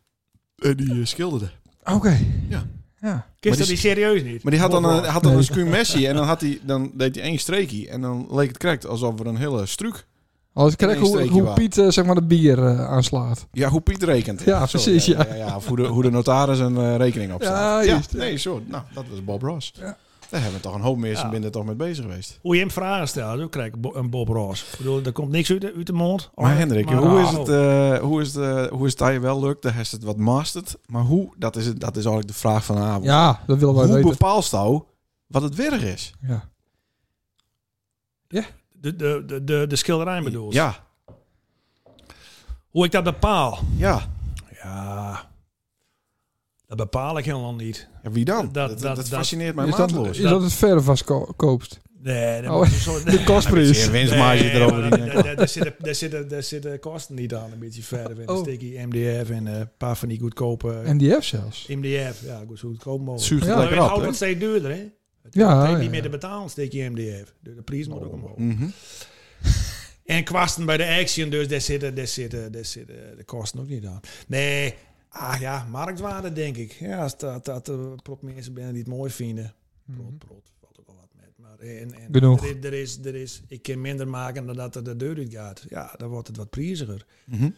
A: En die eh, schilderde.
B: oké.
A: Ja.
B: ja.
E: Kist
A: Maar die-
E: dat die serieus niet?
A: Maar die had dan een,
E: Godverdomme.
A: had dan
B: Nee.
A: een scummessie en dan, had hij, dan deed hij één streekje. En dan leek het correct alsof er een hele struik...
B: Als ik kijk
A: Eén
B: hoe,
A: steekje
B: hoe
A: waar.
B: Piet eh, zeg maar de bier eh, aanslaat.
A: Ja, hoe Piet rekent.
B: Ja,
A: Zo,
B: precies, ja.
A: ja, ja, of hoe, de, hoe de notaris een eh, rekening
B: Ja,
A: opstaat. Ja,
B: juist, ja.
A: nee, zo. Nou, dat was Bob Ross.
B: Ja.
A: Daar hebben we toch een hoop mensen
E: Ja.
A: binnen toch mee bezig geweest.
E: Hoe je hem vragen stelt, dan krijg ik bo- een Bob Ross. Ik bedoel, er komt niks uit de, uit de mond.
B: Oh,
A: Maar Hendrik,
E: Maar-
B: nou,
A: hoe,
E: Ah,
A: is het,
E: oh.
A: eh, hoe is het, eh, hoe is het dat je wel lukt? Daar is het wat masterd. Maar hoe, dat is, het, dat is eigenlijk de vraag van de avond.
B: Ja, dat willen wij
A: hoe
B: weten.
A: bepaalt jou wat het werk is?
B: Ja.
E: De, de, de, de, de schilderij bedoel je?
A: Ja,
E: Hoe ik dat bepaal?
A: ja.
E: Ja, dat bepaal ik helemaal niet.
A: ja wie dan?
E: Dat-
A: Dat, dat,
E: dat- dat-
A: fascineert mij
B: Is dat,
A: maatloos.
B: is dat het verf was ko- koopst?
E: Nee, dat
B: Oh,
E: moet je zo...
B: De kostprijs.
A: Zeer winstmarge
E: Nee, maar
A: erover.
E: daar- daar- daar zitten- daar zitten- Daar zitten kosten niet aan, een beetje verder. Een
B: Oh.
E: stikkie MDF en eh, een paar van die goedkope...
B: MDF zelfs.
E: MDF, E ja, goed, zo goedkoop
A: Het
E: mogelijk.
A: zuigt het
B: Ja,
E: Maar
A: lekker
E: het
A: op.
E: houdt
A: hè?
E: wat steeds duurder, hè? Het
B: Ja,
E: ja,
B: ja,
E: niet
B: ja.
E: meer te betalen, steek je MDF. De, de prijs moet ook omhoog.
A: Mhm.
E: En kwasten bij de Action, dus daar zitten, daar zitten, daar zitten de kosten ook niet aan. Nee, ah ja, marktwaarde denk ik. Ja, als dat, dat er prop mensen binnen die het mooi vinden. Prot,
B: Nou,
E: prot, valt ook wel wat met. Maar en, en,
B: Mhm. Genoeg.
E: Er, is- er is, er is, ik kan minder maken dan dat er de deur uit gaat. Ja, dan wordt het wat prijziger.
A: Mhm.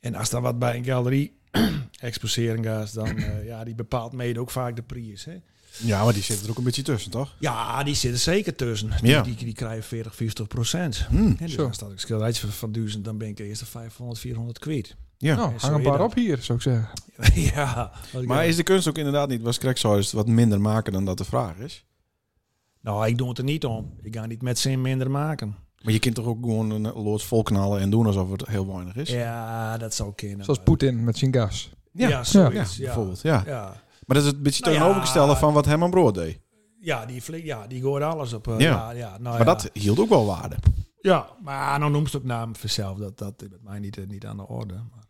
E: En als dan wat bij een galerie exposeren gaat, dan eh, ja, die bepaalt mede ook vaak de prijs, hè?
A: Ja, maar die zit er ook een beetje tussen, toch?
E: Ja, die zitten zeker tussen. Die,
A: Ja.
E: die, die krijgen 40, 50 procent.
A: Hmm.
E: En
B: Zo.
E: dan staat ik schilderijtje van, van duizend, dan ben ik eerst de 500, 400 kwijt.
A: Ja.
B: Nou,
E: zo
B: hang een
E: is
B: paar
E: dat.
B: op hier, zou ik zeggen.
E: ja.
A: Maar is de kunst ook inderdaad niet, was Craig Sawyer wat minder maken dan dat de vraag is?
E: Nou, ik doe het er niet om. Ik ga niet met zin minder maken.
A: Maar je kunt toch ook gewoon een eh, loods vol knallen en doen alsof het heel weinig is?
E: Ja, dat zou kunnen.
B: Zoals
E: maar-
B: Poetin met zijn gas.
E: Ja,
A: Ja,
E: zoiets. Ja,
A: bijvoorbeeld. Ja.
E: Ja.
A: Maar dat is een beetje
E: Nou ja. Ah,
A: tegenovergestelde van wat Herman Brood deed.
E: Ja, die flik, ja, die gooit alles op. eh,
A: Ja.
E: ja, ja, nou
A: Maar
E: ja.
A: dat hield ook wel waarde.
E: Ja, maar nou noemt ze ook naam vanzelf. Dat, dat is bij mij niet, eh, niet aan de orde. Maar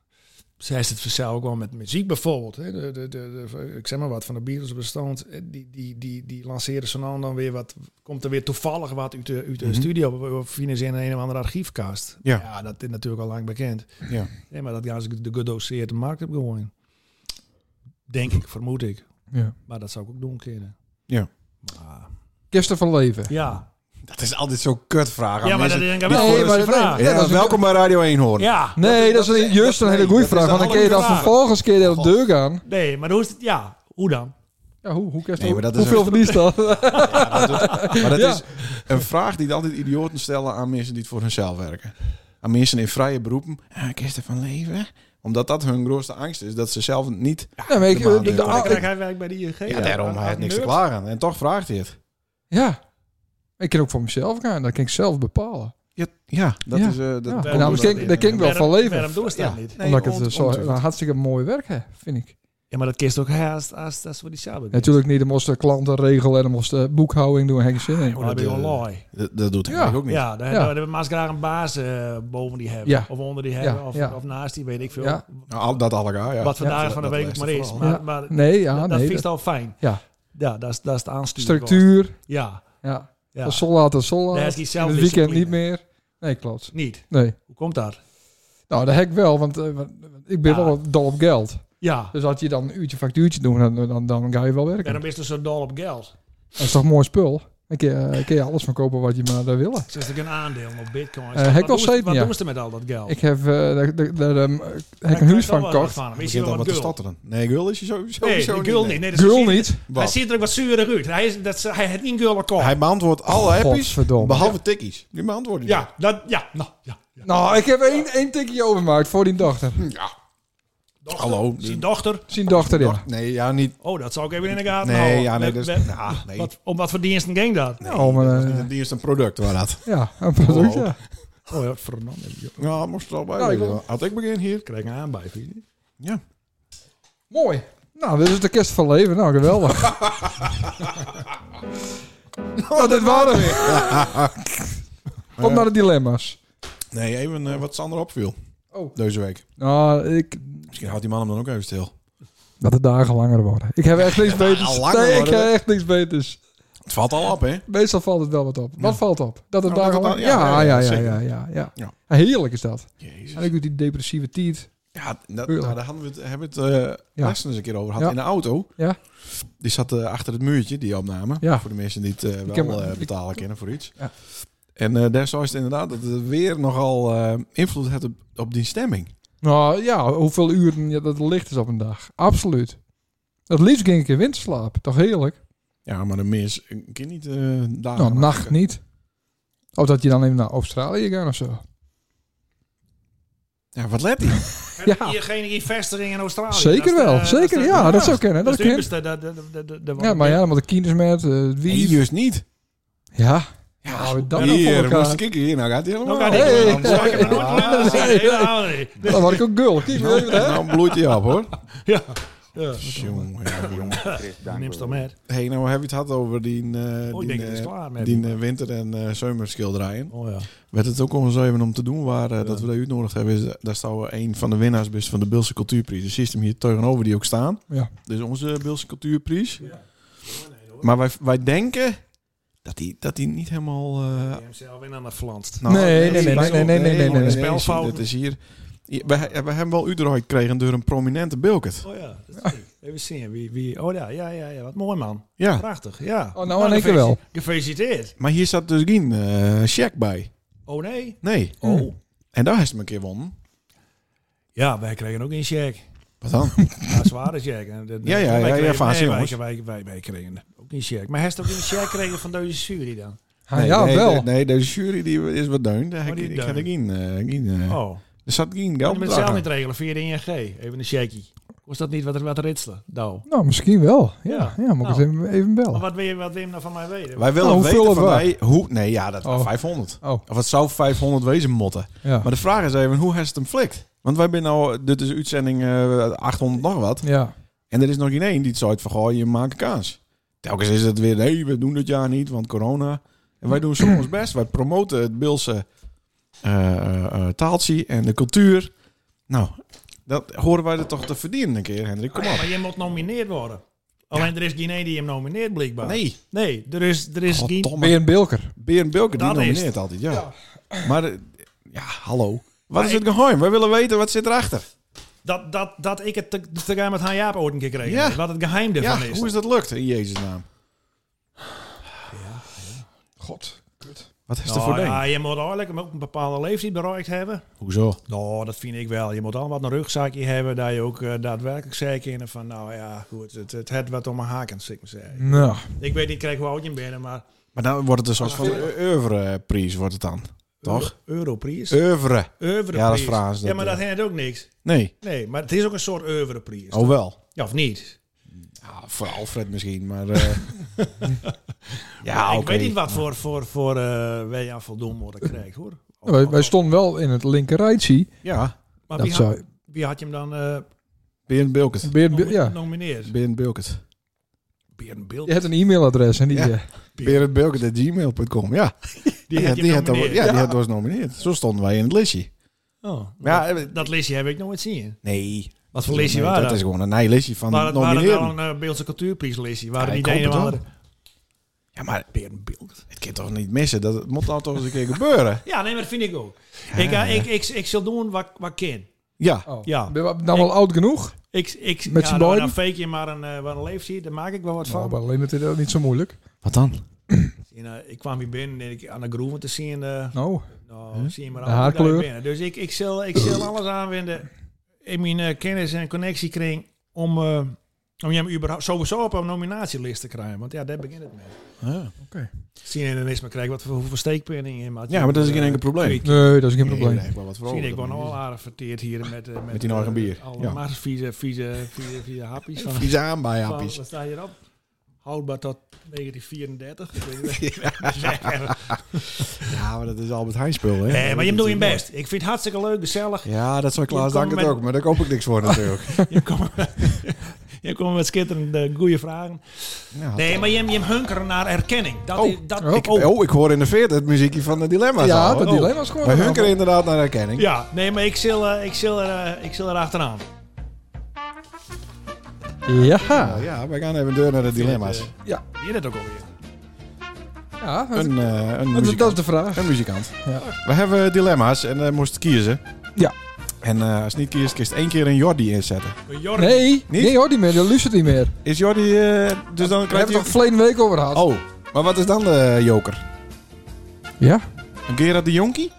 E: zij is het vanzelf ook wel met muziek bijvoorbeeld. Hè. De, de, de, de- ik zeg maar wat, van de Beatles bestond. eh, Die, die, die, die lanceren zo nou en dan weer wat. Komt er weer toevallig wat uit de, uit de
A: Mhm.
E: studio. Of vinden ze in een of andere archiefkast.
A: Ja.
E: dat is natuurlijk al lang bekend.
A: Ja.
E: Nee, maar dat gaan ze de gedoseerde markt op gooien. Denk ik, vermoed ik.
B: Ja.
E: Maar dat zou ik ook doen kunnen.
A: Ja.
E: Maar,
B: Kisten van leven.
E: ja.
A: Dat is altijd zo'n kutvraag. aan
E: ja, maar dat
A: mensen.
E: denk ik
B: Nee, maar
E: wel. dat is de
B: dat-
E: vraag.
B: nee.
A: Ja,
B: dat is een-
A: welkom bij Radio 1 horen.
E: Ja.
B: Nee, Nou, dat is een- juist een hele goede
A: dat is
B: vraag.
A: de
B: Want dan kun je dat
E: allerbelangrijkste
B: vervolgens keer naar de
A: God.
B: deur gaan.
E: Nee, maar hoe is het? Ja, hoe dan?
B: Ja, hoe, hoe kerst
A: Nee, maar dat is
B: Hoeveel
A: een-
B: verliest dat?
A: Ja, dat is- maar dat
B: Ja.
A: is een vraag die altijd idioten stellen aan mensen die het voor hunzelf werken. Aan mensen in vrije beroepen. Ah, ik is ervan leven. Omdat dat hun grootste angst is. Dat ze zelf niet...
B: Ja, maar ik,
A: de maanden
B: de- de-
A: in
E: Dan
A: Ah,
E: krijg hij werk bij de ING.
A: Ja, daarom hij had niks te
E: Nerd.
A: klagen. En toch vraagt hij het.
B: ja. Ik kan ook voor mezelf gaan. Dat kan ik zelf bepalen.
A: Ja, ja dat
B: Ja.
A: is... eh, dat
B: Ja.
A: komt
B: En dan
A: omdat-
B: ken ik- daar ken ik wel
E: Waarom-
B: van leven.
E: Waarom doen ze dat
A: Ja.
E: niet?
A: Nee,
B: Omdat ik het
A: ont-
B: eh, zo
A: ontucht.
B: een hartstikke mooi werk heb, vind ik.
E: Ja, maar dat kist ook haast als dat voor die samen.
B: Natuurlijk niet. Er moesten klanten regelen en er moesten boekhouding doen. Henk zin in.
E: Oh, dat ben je wel laai.
A: Dat, dat doet hij
B: Ja.
A: ook niet.
E: Ja, daar
B: Ja.
E: daar hebben we maar graag een baas eh, boven die hebben.
B: Ja.
E: Of onder die hebben. Of,
B: ja.
E: of naast die, weet ik veel.
B: Ja.
A: Nou, al- dat allegaar, ja.
E: Wat vandaag
A: Ja,
E: van de
A: dat
E: week ook
A: lijst
E: maar
A: er
E: is.
A: vooral.
E: Maar,
B: Ja.
E: maar
B: Nee, ja,
E: dat
B: nee.
E: vind ik
B: dat-
E: al fijn.
B: Ja.
E: Ja, dat is, dat is de aansturing.
B: structuur.
E: Ja.
B: Ja.
E: ja.
B: Van sol laat tot sol
E: Nee,
B: laat.
E: is die
B: In het weekend
E: zelfdiscipline.
B: niet meer. Nee, klopt.
E: Niet.
B: Nee.
E: Hoe komt dat?
B: Nou, dat heb ik wel, want eh, want ik ben
E: Ja.
B: wel dol op geld.
E: Ja.
B: Dus als je dan een uurtje factuurtje doet, dan, dan, dan ga je wel werken.
E: Waarom is er zo dol op geld?
B: Dat is toch mooi spul? Dan kun je, eh, kun je alles van kopen wat je maar daar wil.
E: Ze is ook een aandeel op bitcoin.
B: Eh, Hek
E: wat
B: wel
E: doen ze-
B: zeven,
E: wat
B: ja.
E: doen ze met al dat geld?
B: Ik heb eh, daar- daar- daar, ehm, heb ik
E: Hij
B: een huis
E: krijgt wel
B: van
E: wat
B: gekocht.
E: van hem. Is hij
A: Begint
E: wel
A: dan wat
E: wat
A: te
E: gul?
A: stotteren. Nee, gul is je sowieso
E: Nee,
A: sowieso
E: de gul
A: nee.
E: niet. Nee, dat is
B: Girl niet.
E: precies- Hij
A: Wat?
E: ziet er ook wat zuurder uit. Hij, is, dat, is- hij heeft niet een girl kop.
A: Hij beantwoordt alle appies,
B: Godverdomme.
A: behalve tikkies. Die beantwoorden die.
E: Ja, dat, ja, nou, ja. ja.
B: Nou, ik heb één, één tikje overmaakt voor die dochter.
E: Dochter,
A: Hallo.
E: Zijn dochter.
B: Zijn dochter, ja.
A: Nee, ja, niet.
E: Oh, dat zou ik even in de gaten houden.
A: Nee, ja, nee.
E: Met-
A: Dus,
E: met-
A: nou, nee.
E: wat, om wat voor diensten ging dat?
B: Oh, maar, eh,
A: Die is een product, waar dat.
B: ja, een product, ja.
E: Oh ja, Fernandes. joh.
A: Ja, moest er al bij.
B: Nou, ik
A: wezen.
B: wil-
A: Had ik begin hier.
E: Krijg een aan bij, vind je niet?
A: Ja.
B: Mooi. Nou, dit is de kerst van leven. Nou, geweldig. nou, dit waren we. Op naar de dilemma's.
A: Nee, even eh, wat Sander opviel.
B: Oh.
A: Deze week.
B: Nou, ik,
A: Misschien houdt die man hem dan ook even stil.
B: dat de dagen langer worden. Ik heb echt niks beters.
A: langer
B: Nee, ik
A: worden.
B: heb echt niks beters.
A: Het valt al op, hè?
B: Meestal valt het wel wat op. Wat valt op? Dat het
A: Nou, dat
B: dagen
A: het dan-
B: lang...
A: ja,
B: Ja, ja,
A: ja,
B: ja, ja,
A: zeker.
B: ja, ja,
A: Ja.
B: Heerlijk is dat. En
A: Jezus.
B: ik doe die depressieve tiet.
A: Ja, dat,
B: Heerlijk.
A: nou, daar hadden we het, hebben we het eh
B: Ja.
A: laatst eens een keer over gehad
B: Ja.
A: in de auto.
B: Ja.
A: Die zat eh, achter het muurtje, die opname.
B: Ja.
A: Voor de mensen die het eh, wel
B: heb-
A: eh,
B: ik-
A: betalen kennen voor iets.
B: Ja.
A: En eh daar zou het inderdaad dat het weer nogal eh, invloed had op, op die stemming.
B: Nou ja, hoeveel uren ja, dat het licht is op een dag. Absoluut. Het liefst ging ik in winterslaap. Toch heerlijk?
A: Ja, maar de mens ik kan niet eh dagen.
B: nou, nacht
A: maken.
B: niet. Of dat je dan even naar Australië gaat of zo.
A: Ja, wat let hij?
E: Heb
B: Ja.
E: je geen investering in Australië?
B: Zeker
E: Dat is de-
B: wel.
E: dat is
B: Zeker,
E: de-
B: ja, dat zou kunnen,
E: Dat
B: dat
E: is de
B: kan.
E: duurste, dat- dat- dat- dat- dat-
B: Ja, maar ja, dan moet de kinders met, eh, het
A: Nee,
B: wief.
A: juist niet.
B: Ja.
A: Ja,
B: Nou, dat dan voor
A: hier,
B: elkaar.
A: moest ik kijken. Hier, nou gaat hij helemaal.
E: Nou, kan
B: Hey,
E: ik-
B: hey,
E: dan zou ik hem
B: hey.
E: nooit laten zien.
B: Hey, hey.
E: Helemaal niet.
B: Dan word ik ook gul. Kijk,
A: Nou,
B: even, hè?
A: nou bloeit hij op, hoor.
E: Ja. Ja.
A: Jongen, jongen, jongen.
D: Chris, dank
E: Neem ze toch met.
A: Hey, nou heb je het gehad over die, eh,
E: Oh, ik
A: die,
E: denk dat het is
A: eh,
E: klaar met.
A: die eh, winter- en eh zomerschilderijen.
E: Oh ja.
A: Werd het ook ons even om te doen waar eh, dat we dat uitnodigd hebben. Is, eh, daar staan we een van de winnaars best van de Beelse Cultuurprijs. De system hier tegenover die ook staan.
B: Ja.
A: Dus onze Beelse Cultuurprijs. Maar wij, wij denken dat die, dat die niet helemaal... eh,
E: Die hemzelf in aan de flanst.
A: nou,
B: Nee, nee, nee, nee, nee, nee, nee, nee, nee.
E: Spelfout.
A: Dat is hier... hier- We, he- we hebben wel Utrecht gekregen door een prominente Bilkert.
E: Oh ja, dat is leuk. Even zien. Wie, wie, oh ja, ja, ja, ja, wat mooi man.
A: Ja,
E: Prachtig, ja.
B: Oh, nou in één keer
E: gefeliciteerd.
B: wel.
E: Gefeliciteerd.
A: maar hier zat dus geen eh, check bij.
E: Oh nee.
A: Nee.
E: Oh.
A: En daar is het me een keer wonnen.
E: Ja, wij kregen ook een check.
A: Wat dan?
E: Ja, zware check. En de- de-
A: Ja, ja,
E: wij
A: ja, ja,
E: kregen-
A: van
E: nee,
A: zin,
E: wij,
A: jongens.
E: wij, wij, wij kregen ook een check. Maar hij heeft ook een check gekregen van deze jury dan.
B: Ah, ja,
A: nee,
B: wel.
A: De, nee, de jury die is wat deun. Daar heb
E: Oh, die
A: ik- ik had
E: deun.
A: er geen... eh, geen eh,
E: Oh.
A: Er zat geen
E: Kan
A: geld
E: je met zelf niet regelen via de ING? Even een checkie. Was dat niet wat er wat ritselen? Nou.
B: Nou, misschien wel. Ja,
E: Ja.
B: ja moet ik
E: Nou.
B: eens even, even
E: Maar
B: bellen.
E: wat wil je, wat wil je nou van mij weten?
A: Wij willen
B: Nou, hoeveel
A: weten
B: het
A: van
B: waard?
A: mij hoe... Nee, ja, dat was
B: Oh.
A: 500.
B: Oh,
A: Of het zou 500 wezen motten.
B: ja.
A: Maar de vraag is even, hoe heeft het hem flikt? Want wij zijn nou, dit is uitzending eh, 800 nog wat.
B: Ja.
A: En er is nog geen één die het zou van, goh, je maakt kaas. Telkens is het weer, nee, we doen dit jaar niet, want corona. En wij doen soms ons best. Wij promoten het Bilse eh, eh, eh, taaltje en de cultuur. Nou, dat horen wij er toch te verdienen een keer, Hendrik. Kom op.
E: Maar je moet nomineerd worden. Alleen er is geen één die hem nomineert, blijkbaar.
A: Nee,
E: Nee, er is, er is geen...
B: Ben je een bilker?
A: Beren Bilker, die
E: Dat is
A: nomineert
E: het.
A: altijd, ja. Maar, eh, ja, hallo. Wat
E: Maar
A: is
E: ik-
A: het geheim? Wij willen weten, wat zit erachter?
E: Dat, dat, dat ik het te, te gaan met Han Jaap ooit een keer kreeg.
A: Ja.
E: Wat het geheim ervan
A: Ja,
E: is.
A: hoe is dat lukt, in Jezus naam?
B: God. Kut.
A: Wat is er
E: Nou,
A: voor ding?
E: ja, je moet eigenlijk hem ook een bepaalde leeftijd bereikt hebben.
A: Hoezo?
E: Nou, dat vind ik wel. Je moet al wat een rugzakje hebben. Dat je ook eh, daadwerkelijk zeker in van... Nou ja, goed. Het, het, het wat om mijn haken, zeg maar zeggen.
B: Nou,
A: Oh,
E: Ik weet niet, krijg hoe oud je bent, maar...
A: Maar dan wordt het een soort van oeuvreprijs, wordt het dan. Toch?
E: Europrijs.
A: Oeuvre.
E: Oeuvreprijs.
A: Ja, dat is Frans, dat,
E: Ja, maar dat
A: eh.
E: heeft ook niks.
A: Nee.
E: Nee, maar het is ook een soort oeuvreprijs.
A: Oh wel.
E: Ja, of niet?
A: Ja, voor Alfred misschien, maar... eh, ja,
E: ik
A: Ah, oké.
E: weet niet wat voor, voor, voor eh, wij aan voldoen worden krijgt, hoor.
B: wij,
A: oh.
B: wij stonden wel in het linker rijtje.
A: Ja,
E: Maar
B: Dat
E: wie had,
B: zou...
E: wie had je hem dan eh
A: Beren Bilkert.
B: Beer, Beer-
E: nomi-
B: ja.
A: Oh.
E: nomineerd?
A: Beren Bilkert.
E: Beren Beeld.
B: Je hebt een e-mailadres en die...
A: Ja.
B: eh,
A: Beren Bilkert at gmail.com, ja.
E: Die
A: ja,
E: had je
A: die had dan-
E: nomineerd.
A: ja, die had was nomineerd. Zo stonden wij in het listje.
E: Oh,
A: Maar ja, eh,
E: dat, dat lesje heb ik nooit zien.
A: Nee.
E: Wat voor lesje waren
A: Dat
E: dat?
A: is gewoon een nijlistje van
E: Maar het waren
A: nomineren.
E: wel een eh, Beeldse cultuurprijs lesje. Waren
A: Ja,
E: die
A: ik
E: de
A: hoop
E: ene of
A: het
E: andere?
A: Ja, maar
E: Beren Beeld.
A: het kan toch niet missen? Dat het moet nou toch eens een keer gebeuren?
E: Ja, nee, maar dat vind ik ook. Ik, eh, ik, ik, ik zal doen wat, wat ik kan.
A: Ja.
B: Oh.
E: Ja.
B: Ben je dan wel oud genoeg?
E: Ik, ik,
B: Met z'n
E: ja, nou,
B: beiden?
E: dan fake je maar een, eh, wat een leeftijd. Daar maak ik wel wat
B: Nou,
E: van.
B: maar alleen dat is dat niet zo moeilijk.
A: Wat dan?
E: Ja, En eh, ik kwam hier binnen en ik aan de groeven te zien. eh
B: Oh,
E: nou,
A: Huh?
E: zie je maar
B: De
E: aan hoe
B: haarkleur?
E: daar binnen. Dus ik, ik, zal, ik zal alles aanwenden in mijn eh, kennis en connectiekring om, eh om je hem überhaupt sowieso op een nominatielijst te krijgen. Want ja, daar begint het mee.
A: Ja,
E: Zie je dan eens maar krijgen wat voor, hoeveel steekpenningen je maakt.
A: ja maar dat is geen enkel probleem.
E: Kweek.
B: nee, dat is geen
A: Nee,
B: probleem.
A: nee, ik wou wat
E: eh, Zie je, ik
A: vrolijker
E: word nog
A: doen.
E: wel aardig verteerd hier met, eh, met,
A: Met die eigen
E: eh,
A: bier,
E: Alle
A: ja.
E: ja. vieze, vieze, vieze, vieze hapjes. Van,
A: Vies aan bij
E: van,
A: Appies.
E: wat staat hierop? Houdbaar tot 1934. Ik weet niet wat ik moet zeggen.
A: Ja, maar dat is Albert Heijn spul, hè?
E: Nee, maar je doet je best. Ik vind het hartstikke leuk, gezellig.
A: Ja, dat zou Klaas
E: Je komt
A: Dank het
E: met-
A: ook, maar daar koop ik niks voor natuurlijk.
E: Je komt, je komt met schitterende goede vragen.
A: Ja,
E: Nee, maar je, je hunkeren naar erkenning. Dat
A: Oh,
E: is, dat,
B: oh.
E: ik
A: oh.
E: ook.
A: ik hoor in de veert het muziekje van de dilemma's
B: Ja,
A: al, hè?
B: dat dilemma's gewoon.
A: Wij hunkeren inderdaad naar herkenning.
E: Ja, nee, maar ik zil, eh, ik zil, er, eh, ik zil er achteraan.
A: Ja,
B: Ja.
A: ja, wij gaan even deur naar de dilemma's.
E: Zie je dat ook alweer?
B: Ja, dat,
A: Een, eh, een
B: dat- dat is
A: muzikant.
B: de vraag.
A: Een muzikant.
B: Ja.
A: We hebben dilemma's en eh moest kiezen.
B: Ja.
A: En eh, als niet kiest, kiest één keer een Jordi inzetten.
E: Jorrit.
B: Nee,
A: Niet?
B: nee hoor, die meer. Dat luistert niet meer.
A: Is Jordi... eh, dus dan
B: We hebben
A: krijgt
B: het
A: hij...
B: toch verleden week over gehad.
A: Oh, maar wat is dan de joker?
B: Ja,
A: Een Gerard de Jonkie?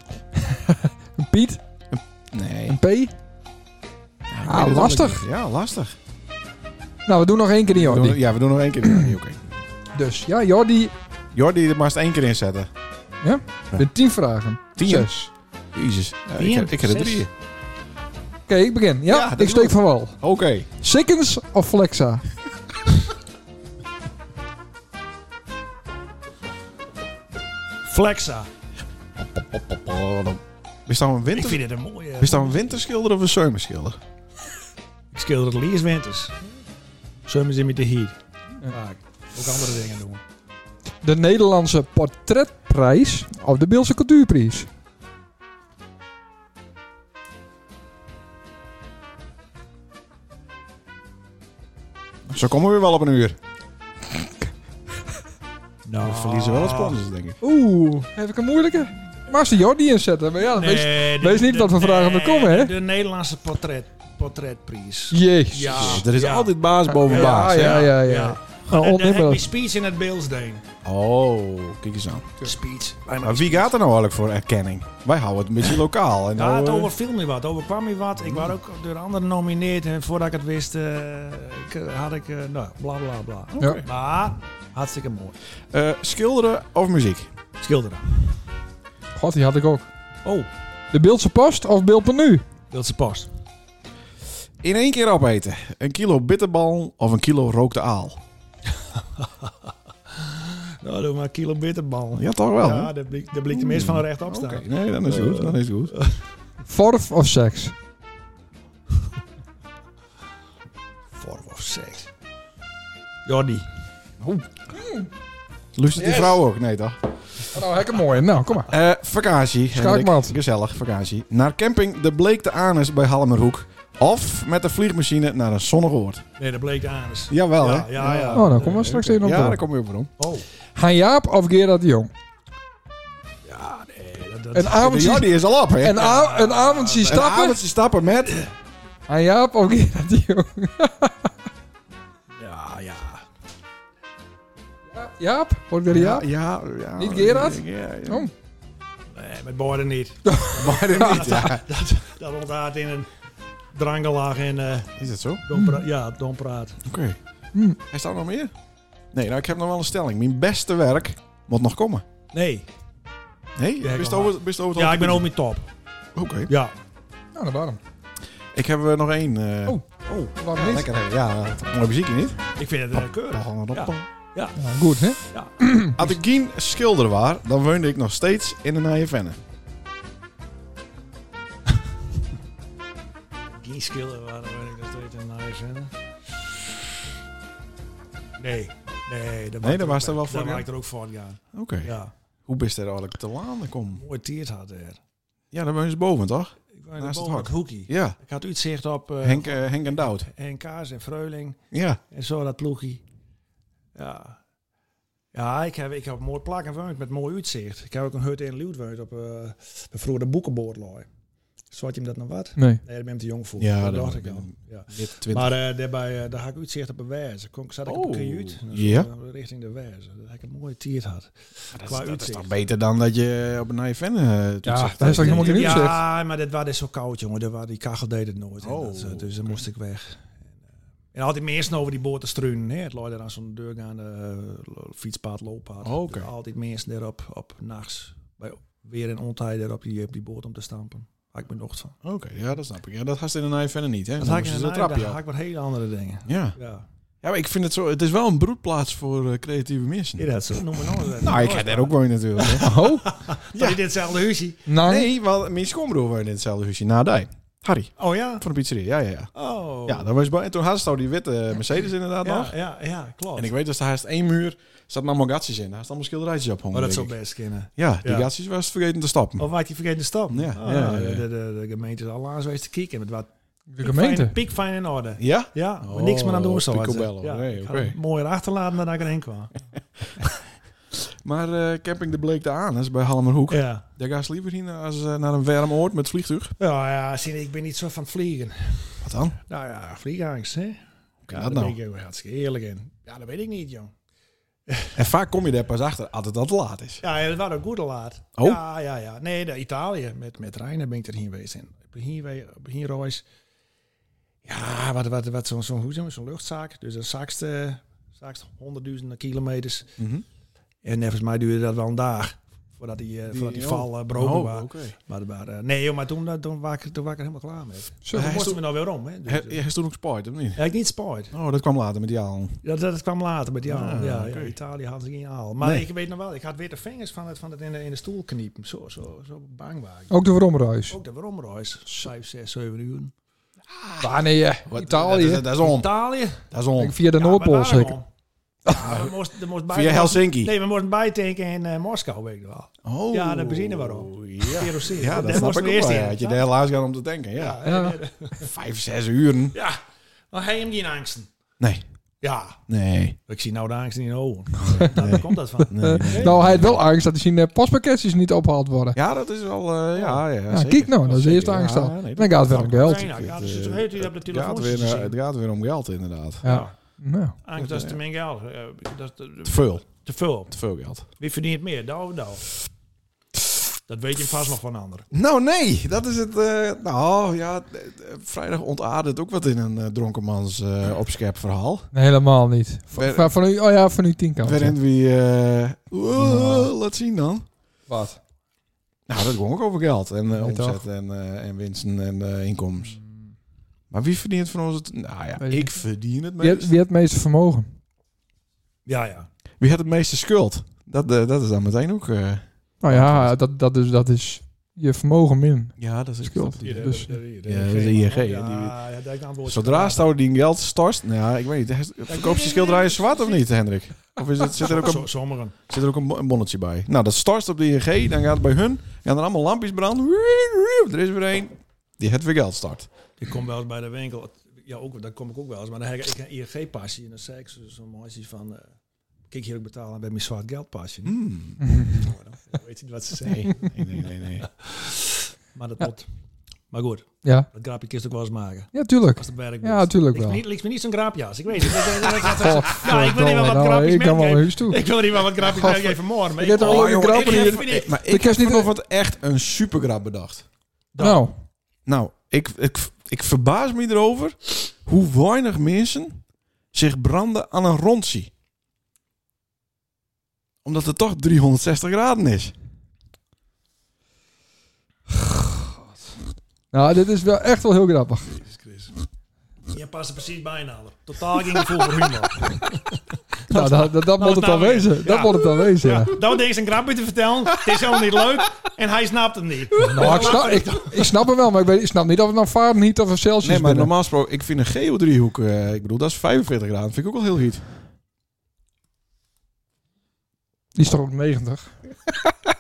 B: een Piet,
A: Nee.
B: een P. Ah, lastig.
A: Ja, lastig.
B: Nou, we doen nog één keer die
A: We doen-
B: Jordi.
A: ja, we doen nog één keer een Jordi. oké.
B: Dus ja, Jordi,
A: Jordi, dat mag je één keer inzetten.
B: de tien vragen.
A: Tien.
B: Zes.
A: Jezus. Ja, ik,
E: Tien,
A: heb, ik heb er
E: zes.
A: drie.
B: Oké, ik begin. Ja,
A: Ja, dat
B: ik
A: is
B: steek
A: goed.
B: van wal.
A: Oké.
B: Sikkens of Flexa?
E: Flexa.
A: Is dat een,
E: Ik
A: winter,
E: vind het een mooie...
A: is dat een winterschilder of een zomerschilder?
E: Ik schilder het liefst winters. Summers in met de heat.
B: Ja.
E: Vaak. Ook andere dingen doen.
B: De Nederlandse Portretprijs of de Beelse Cultuurprijs?
A: Zo komen we weer wel op een uur.
E: Nou,
A: We verliezen wel wat sponsors, denk ik.
B: Oeh, heb ik een moeilijke? Maar ze Jordi inzetten, maar ja, dat weet wees niet wat
E: we
B: voor vragen er komen, hè?
E: De Nederlandse portret, portretprijs.
B: Jezus.
E: Ja.
A: Er is
E: Ja.
A: altijd baas boven
B: Ja,
A: baas. hè?
B: ja, ja, ja. Nou,
E: En dan heb
B: onneembaar.
E: je speech in het beeld deen.
A: Oh, kijk eens aan.
E: Speech.
A: Maar wie gaat er nou eigenlijk voor erkenning? Wij houden het een beetje lokaal. En
E: Ja,
A: nou,
E: het
A: eh,
E: overviel me wat, overkwam me wat. Ik was ook door anderen genomineerd en voordat ik het wist, eh, ik- had ik, eh, nou, bla bla bla.
B: Ja.
E: Maar, hartstikke mooi.
A: eh, schilderen of muziek?
E: Schilderen.
B: God, die had ik ook.
E: Oh,
B: De Beeldse Post of Beeld nu?
E: dat is pas.
A: In één keer opeten. Een kilo bitterbal of een kilo rookte aal?
E: Nou, doe maar een kilo bitterbal.
A: Ja, toch wel. hè?
E: Ja, daar blik, daar blikt de meest van rechtop staan.
A: Oké, nee, dan is het goed. Dan is het goed.
B: Vorf of seks?
E: Vorm of seks. Jordi.
A: Lust die vrouw ook? Nee, toch?
B: Nou, hekken mooi. Nou, kom maar.
A: Eh, vakantie.
B: Schaakmat.
A: Hendrik. Gezellig, vakantie. Naar camping De Bleekte Anus bij Halmerhoek. Of met de vliegmachine naar een zonnig oord.
E: Nee, dat bleek de anus.
A: Jawel,
E: ja,
A: hè?
E: ja, ja.
B: Oh, nou, kom maar straks even op
A: Ja, daar
B: door.
A: kom je op en om.
E: Oh.
B: Han Jaap of Gerard de Jong?
E: Ja, nee. Dat, dat,
B: Een
A: De Jordi
B: avondje,
A: is al op, hè?
B: een a- een avondje
A: Een
B: stappen?
A: avondje stappen met...
B: Han Jaap of Gerard de Jong?
E: ja, ja.
B: Jaap? Wordt weer een Jaap?
A: Ja, ja.
B: Niet Gerard?
A: Ja, ja.
B: Oh.
E: Nee, met borden niet.
A: Maar dan niet, ja.
E: Dat, dat ontstaat in een drangelag en eh
A: Is dat zo? Oké.
E: dompra ja, dompraat. Hmm.
B: Hm.
A: Is dat nog meer? Nee, nou, ik heb nog wel een stelling. Mijn beste werk moet nog komen.
E: Nee.
A: Nee?
E: Ja, ik
A: best
E: wel.
A: over, best over het
E: Ja, ik ben ook
A: hoofd?
E: met top.
A: Oké.
E: Ja.
B: Nou, dan waarom?
A: Ik heb er nog één. eh,
B: Oh,
A: oh.
B: Waarom
A: Ja,
B: niet?
A: lekker. hè? Ja, mooi muziekje niet.
E: Ik vind het
A: Oh.
E: eh, keurig. Ja.
B: Ja, goed, hè?
A: Als ik geen schilder was, dan woonde ik nog steeds in de Nije Venne.
E: Die skillen waren ik nog steeds een nice, hè? Nee. Nee, dat
A: daar was er wel voor,
E: Daar
A: ja.
E: maak ik er ook voor gaan.
A: Oké.
E: Ja.
A: Hoe bist er eigenlijk te laan? Kom.
E: Mooi tiert had er.
A: Ja, dan woon ze boven, toch?
E: Ik was
A: Naast
E: boven
A: het
E: het hoekie.
A: Ja.
E: Ik had uitzicht op eh,
A: Henk, eh, Henk en Doud.
E: Henk Kaas en Freuling
A: Ja.
E: en zo dat ploegie. Ja. Ja, ik heb, ik heb mooi plakken woont met mooi uitzicht. Ik heb ook een hut in Leeuwarden woont op eh de vroeger boekenboord looi. Zwart je hem dat nog wat?
B: Nee.
E: Nee, daar ben ik te jong voor.
A: Ja,
E: dat
A: dat ben
E: dacht ik
A: ik
E: al.
A: ben-
E: Ja.
A: Dit 20.
E: Maar eh daarbij, eh, daar had ik uitzicht op een wijze. Kon, zat ik op
A: Oh,
E: een kajuut. En dan
A: ja.
E: zat ik richting de Wezen. Dat ik een mooie tiert had.
A: Dat,
E: Qua
A: is, dat is
E: uitzicht.
A: toch beter dan dat je op een nieuwe fan eh toetsen
B: daar is
A: geeft.
B: toch helemaal geen
E: ja,
B: uitzicht.
E: maar dit was dus zo koud, jongen. Dat was- die kachel deed het nooit. En
A: Oh,
E: dat, eh, dus dan moest ik weg. En, eh, en altijd meer eerst over die boord te struinen. Hè. Het looide aan zo'n deurgaande eh, lo- fietspaad, looppad.
A: Oh, oké.
E: Dus Altijd meer eerst erop, op nachts. Bij weer een ontijder op die, op die boord om te stampen. Had ik me nog van.
A: Oké, ja, dat snap ik. Ja, dat had ze in een nieuwe fan niet, hè?
E: Dat
A: Dan
E: had ik in
A: moesten
E: een
A: ze
E: eind,
A: trapje
E: daar had
A: af.
E: ik wat hele andere dingen.
A: Ja.
E: Ja,
A: ja, maar ik vind het zo... Het is wel een broedplaats voor eh, creatieve mensen.
E: ja dat zo. Noem maar nog eens.
A: Nou, ik ga daar ook wonen natuurlijk. hè.
B: Oh,
E: Ja. in ditzelfde huisje.
B: nou.
A: Nee, want mijn schoonbroer woonde in hetzelfde huisje. Na die. Harry,
E: Oh ja?
A: van de pizzeria. Ja, ja, ja.
E: Oh.
A: Ja, dat was bij. En toen hadden ze al die witte eh, Mercedes inderdaad nog.
E: ja, ja, ja, klopt.
A: En ik weet dat er haast één muur zat allemaal gatsjes in. Daar staan allemaal schilderijtjes op
E: maar
A: hangen.
E: Oh, dat
A: denk
E: zou
A: ik.
E: best kunnen.
A: Ja, die
E: Ja. Oh.
A: gatsjes was het vergeten te stappen.
E: Of waar die vergeten stap?
A: Ja,
E: Ah,
A: ja, ja.
E: De, de, de gemeente is al aan geweest te kijken. Het was
B: De gemeente.
E: piekfijn in orde.
A: Ja?
E: Ja, maar
A: Oh,
E: niks meer aan doen zo.
A: picobello.
E: Ja,
A: Nee,
E: ik had
A: oké.
E: het mooier achterlaten dan dat ik erheen kwam.
A: Maar eh, camping de Bleek de Anus bij Halmerhoek.
E: Ja.
A: Daar ga je liever heen als eh, naar een warm oord met vliegtuig.
E: Ja, ja, zie je, ik ben niet zo van het vliegen.
A: Wat dan?
E: Nou ja, vliegangst, hè?
A: kan
E: ja,
A: dat
E: daar
A: nou?
E: ben ik ook hartstikke eerlijk in. Ja, dat weet ik niet, jong.
A: En vaak kom je daar pas achter als het al te laat is.
E: Ja, dat was ook goed te laat.
A: Oh.
E: Ja, ja, ja. Nee, naar Italië. Met, met Reiner ben ik er hier geweest. En op hier, we- op hier reis. Ja, wat, wat, wat zo'n zo'n hoe zeg maar, zo'n luchtzaak. Dus dat zaakst, eh, zaakst honderdduizenden kilometers.
A: Mhm.
E: En volgens mij duurde dat wel een dag. Voordat die, eh, voordat die
A: oh.
E: val eh,
A: Bro,
E: broken was. Maar, maar, eh, nee, joh, maar toen, eh, toen, was ik, toen was ik er helemaal klaar mee.
B: Zo,
E: toen
A: hij
E: moesten
A: stond-
E: we nou weer om. Hè? Dus,
A: Hij
E: eh,
A: hij is toen ook spijt, of niet?
E: ja, ik niet spijt.
A: Oh, dat kwam later met die aan.
E: Dat, dat kwam later met die aal.
A: Ah,
E: ja, ja,
A: oké.
E: Italië had ik geen aal. Maar
A: Nee.
E: ik weet nog wel, ik had weer de vingers van het, van het in, de, in de stoel kniepen. Zo, zo, zo bang was ik.
B: Ook de Veromruis.
A: Oh.
E: Ook de Romreis, 5, 6, 7 uur.
B: Ah nee, eh, Italië.
A: Dat is, dat is om.
E: Italië?
A: Dat is
B: Ik denk
A: om.
B: via de
E: Ja,
B: Noordpool
E: maar waarom?
B: zeker.
E: Ja, we moesten- we moesten bij-
A: Via Helsinki.
E: Nee, we moesten bijtanken in eh, Moskou, weet ik wel.
A: Oh.
E: Ja, de benzine waarom.
A: Ja,
E: Kerosine.
A: ja
E: Dat
A: dat snap
E: moesten
A: ik ook
E: we eerst
A: wel.
E: in.
A: Ja, had je
E: Ja.
A: daar laatst gaan om te denken, ja.
E: Ja,
B: Ja.
E: eh,
A: Vijf, zes uren.
E: ja. Maar hij hem geen angsten.
A: Nee.
E: Ja,
A: Nee.
E: ik zie nou de angst in je ogen. Daar komt dat van.
A: nee.
B: Eh, nou, hij had wel angst dat zijn eh, postpakketjes niet opgehaald worden.
A: Ja, dat is wel... eh, ja, ja,
B: Ja,
A: zeker.
B: kijk nou, dat is de eerste
A: zeker.
B: angst
A: Ja,
B: al.
A: nee, dat-
B: Dan gaat het weer om geld.
E: Nee, nou, ja,
A: Het,
E: dus
A: eh,
E: het heet u op de
A: Het gaat,
E: telefoon.
A: weer, eh, het gaat weer om geld, inderdaad.
B: Ja. Nou,
E: Angst, dat is te min geld. Eh, Dat is
A: Te
E: te-
A: veel.
E: te veel.
A: Te veel geld.
E: Wie verdient meer? Douw of douw? Dat weet je vast nog van anderen.
A: Nou, nee. Dat is het... eh, nou, ja. eh, eh, vrijdag ontaarde het ook wat in een eh, dronkenmans eh opschep verhaal.
B: nee, helemaal niet. Van,
A: Wer-
B: van, van u, oh ja, van uw tien kant.
A: Waarin we... eh, wow, Laat zien dan.
B: Wat?
A: Nou, dat ging ook over geld. En eh,
B: Nee,
A: omzet
B: toch?
A: en, eh, en winsten en eh, inkomens. Maar wie verdient van ons het... Nou ja,
B: Weet je-
A: ik verdien het
B: Wie heeft,
A: meest.
B: wie heeft het meeste vermogen?
E: Ja, ja.
A: Wie had het meeste schuld? Dat, eh, dat is dan meteen ook... eh,
B: Nou ja, dat, dat, is, dat is je vermogen min.
A: ja, dat is
B: Schuld. Dus-
A: Ja, dat is de ING, hè, die-
E: Ja, ja, dat ik een woordje
A: Zodra
E: praat.
A: Stouw die een geld stort, nou ja, ik weet niet. heeft- Verkoopt je schilderijen zwart of niet, Hendrik? Of is het, zit er ook,
E: Zo-
A: een,
E: Sommigen.
A: zit er ook een bo- een bonnetje bij? Nou, dat stort op de ING, dan gaat het bij hun, gaan er allemaal lampjes branden. Wieuw, wieuw, Er is weer één die het weer geld start.
E: Ik kom wel eens bij de winkel. Ja, ook, daar kom ik ook wel eens. Maar dan heb ik ik een ING-pasje. En dan zei ik zo- zo'n meisje van... eh, Kijk hier ook betalen bij mijn zwart geldpasje. Hm,
A: Hmm.
E: dan Weet je niet wat ze zeggen.
A: Nee, nee, nee, nee. nee.
E: Maar dat moet. Maar goed,
B: Ja,
E: dat grapje kun je ook wel eens maken.
B: ja tuurlijk.
E: Als het werk
B: Ja,
E: doet.
B: tuurlijk
E: Ligt me
B: wel.
E: niet, ligt me niet zo'n graapjas. Ik weet het. Ik- ik- ik- ik- Ja, ik wil
B: Godverdomme,
E: niet wel wat
B: nou,
E: grapjes
B: Ik kan wel een
E: meegeven.
B: huis toe.
E: Ik wil niet wel wat grapjes
B: Godver-
E: meegeven morgen. maar
B: Ik heb er al
A: Oh,
B: een
A: jongen,
B: grap
E: ik heb
B: in.
E: voor
B: hier.
E: die-
A: Eh, Maar
B: Nou, Ik
A: ik
B: heb
A: heb
B: niet-
A: vanochtend echt een supergrap bedacht.
B: Nou,
A: Nou, ik, ik, ik verbaas me erover hoe weinig mensen zich branden aan een rondsie. Omdat het toch 360 graden is.
B: nou, dit is wel echt wel heel grappig.
E: Je past er precies bijna aan. Totaal geen gevoel voor humor.
B: Nou, dat, dat, dat moet het
E: nou
B: dan
E: weer.
B: wezen. Dat
E: Ja.
B: moet het dan wezen, ja.
E: Dan deed ze een grapje te vertellen. Het is helemaal niet leuk. En hij snapt hem niet.
B: Nou, ik snap, ik, ik snap hem wel, maar ik, weet, ik snap niet of het nou Fahrenheit of een Celsius
A: Nee, maar
B: binnen.
A: normaal gesproken, ik vind een geodriehoek, eh, ik bedoel, dat is 45 graden. Vind ik ook al heel heet.
B: Die is toch ook 90.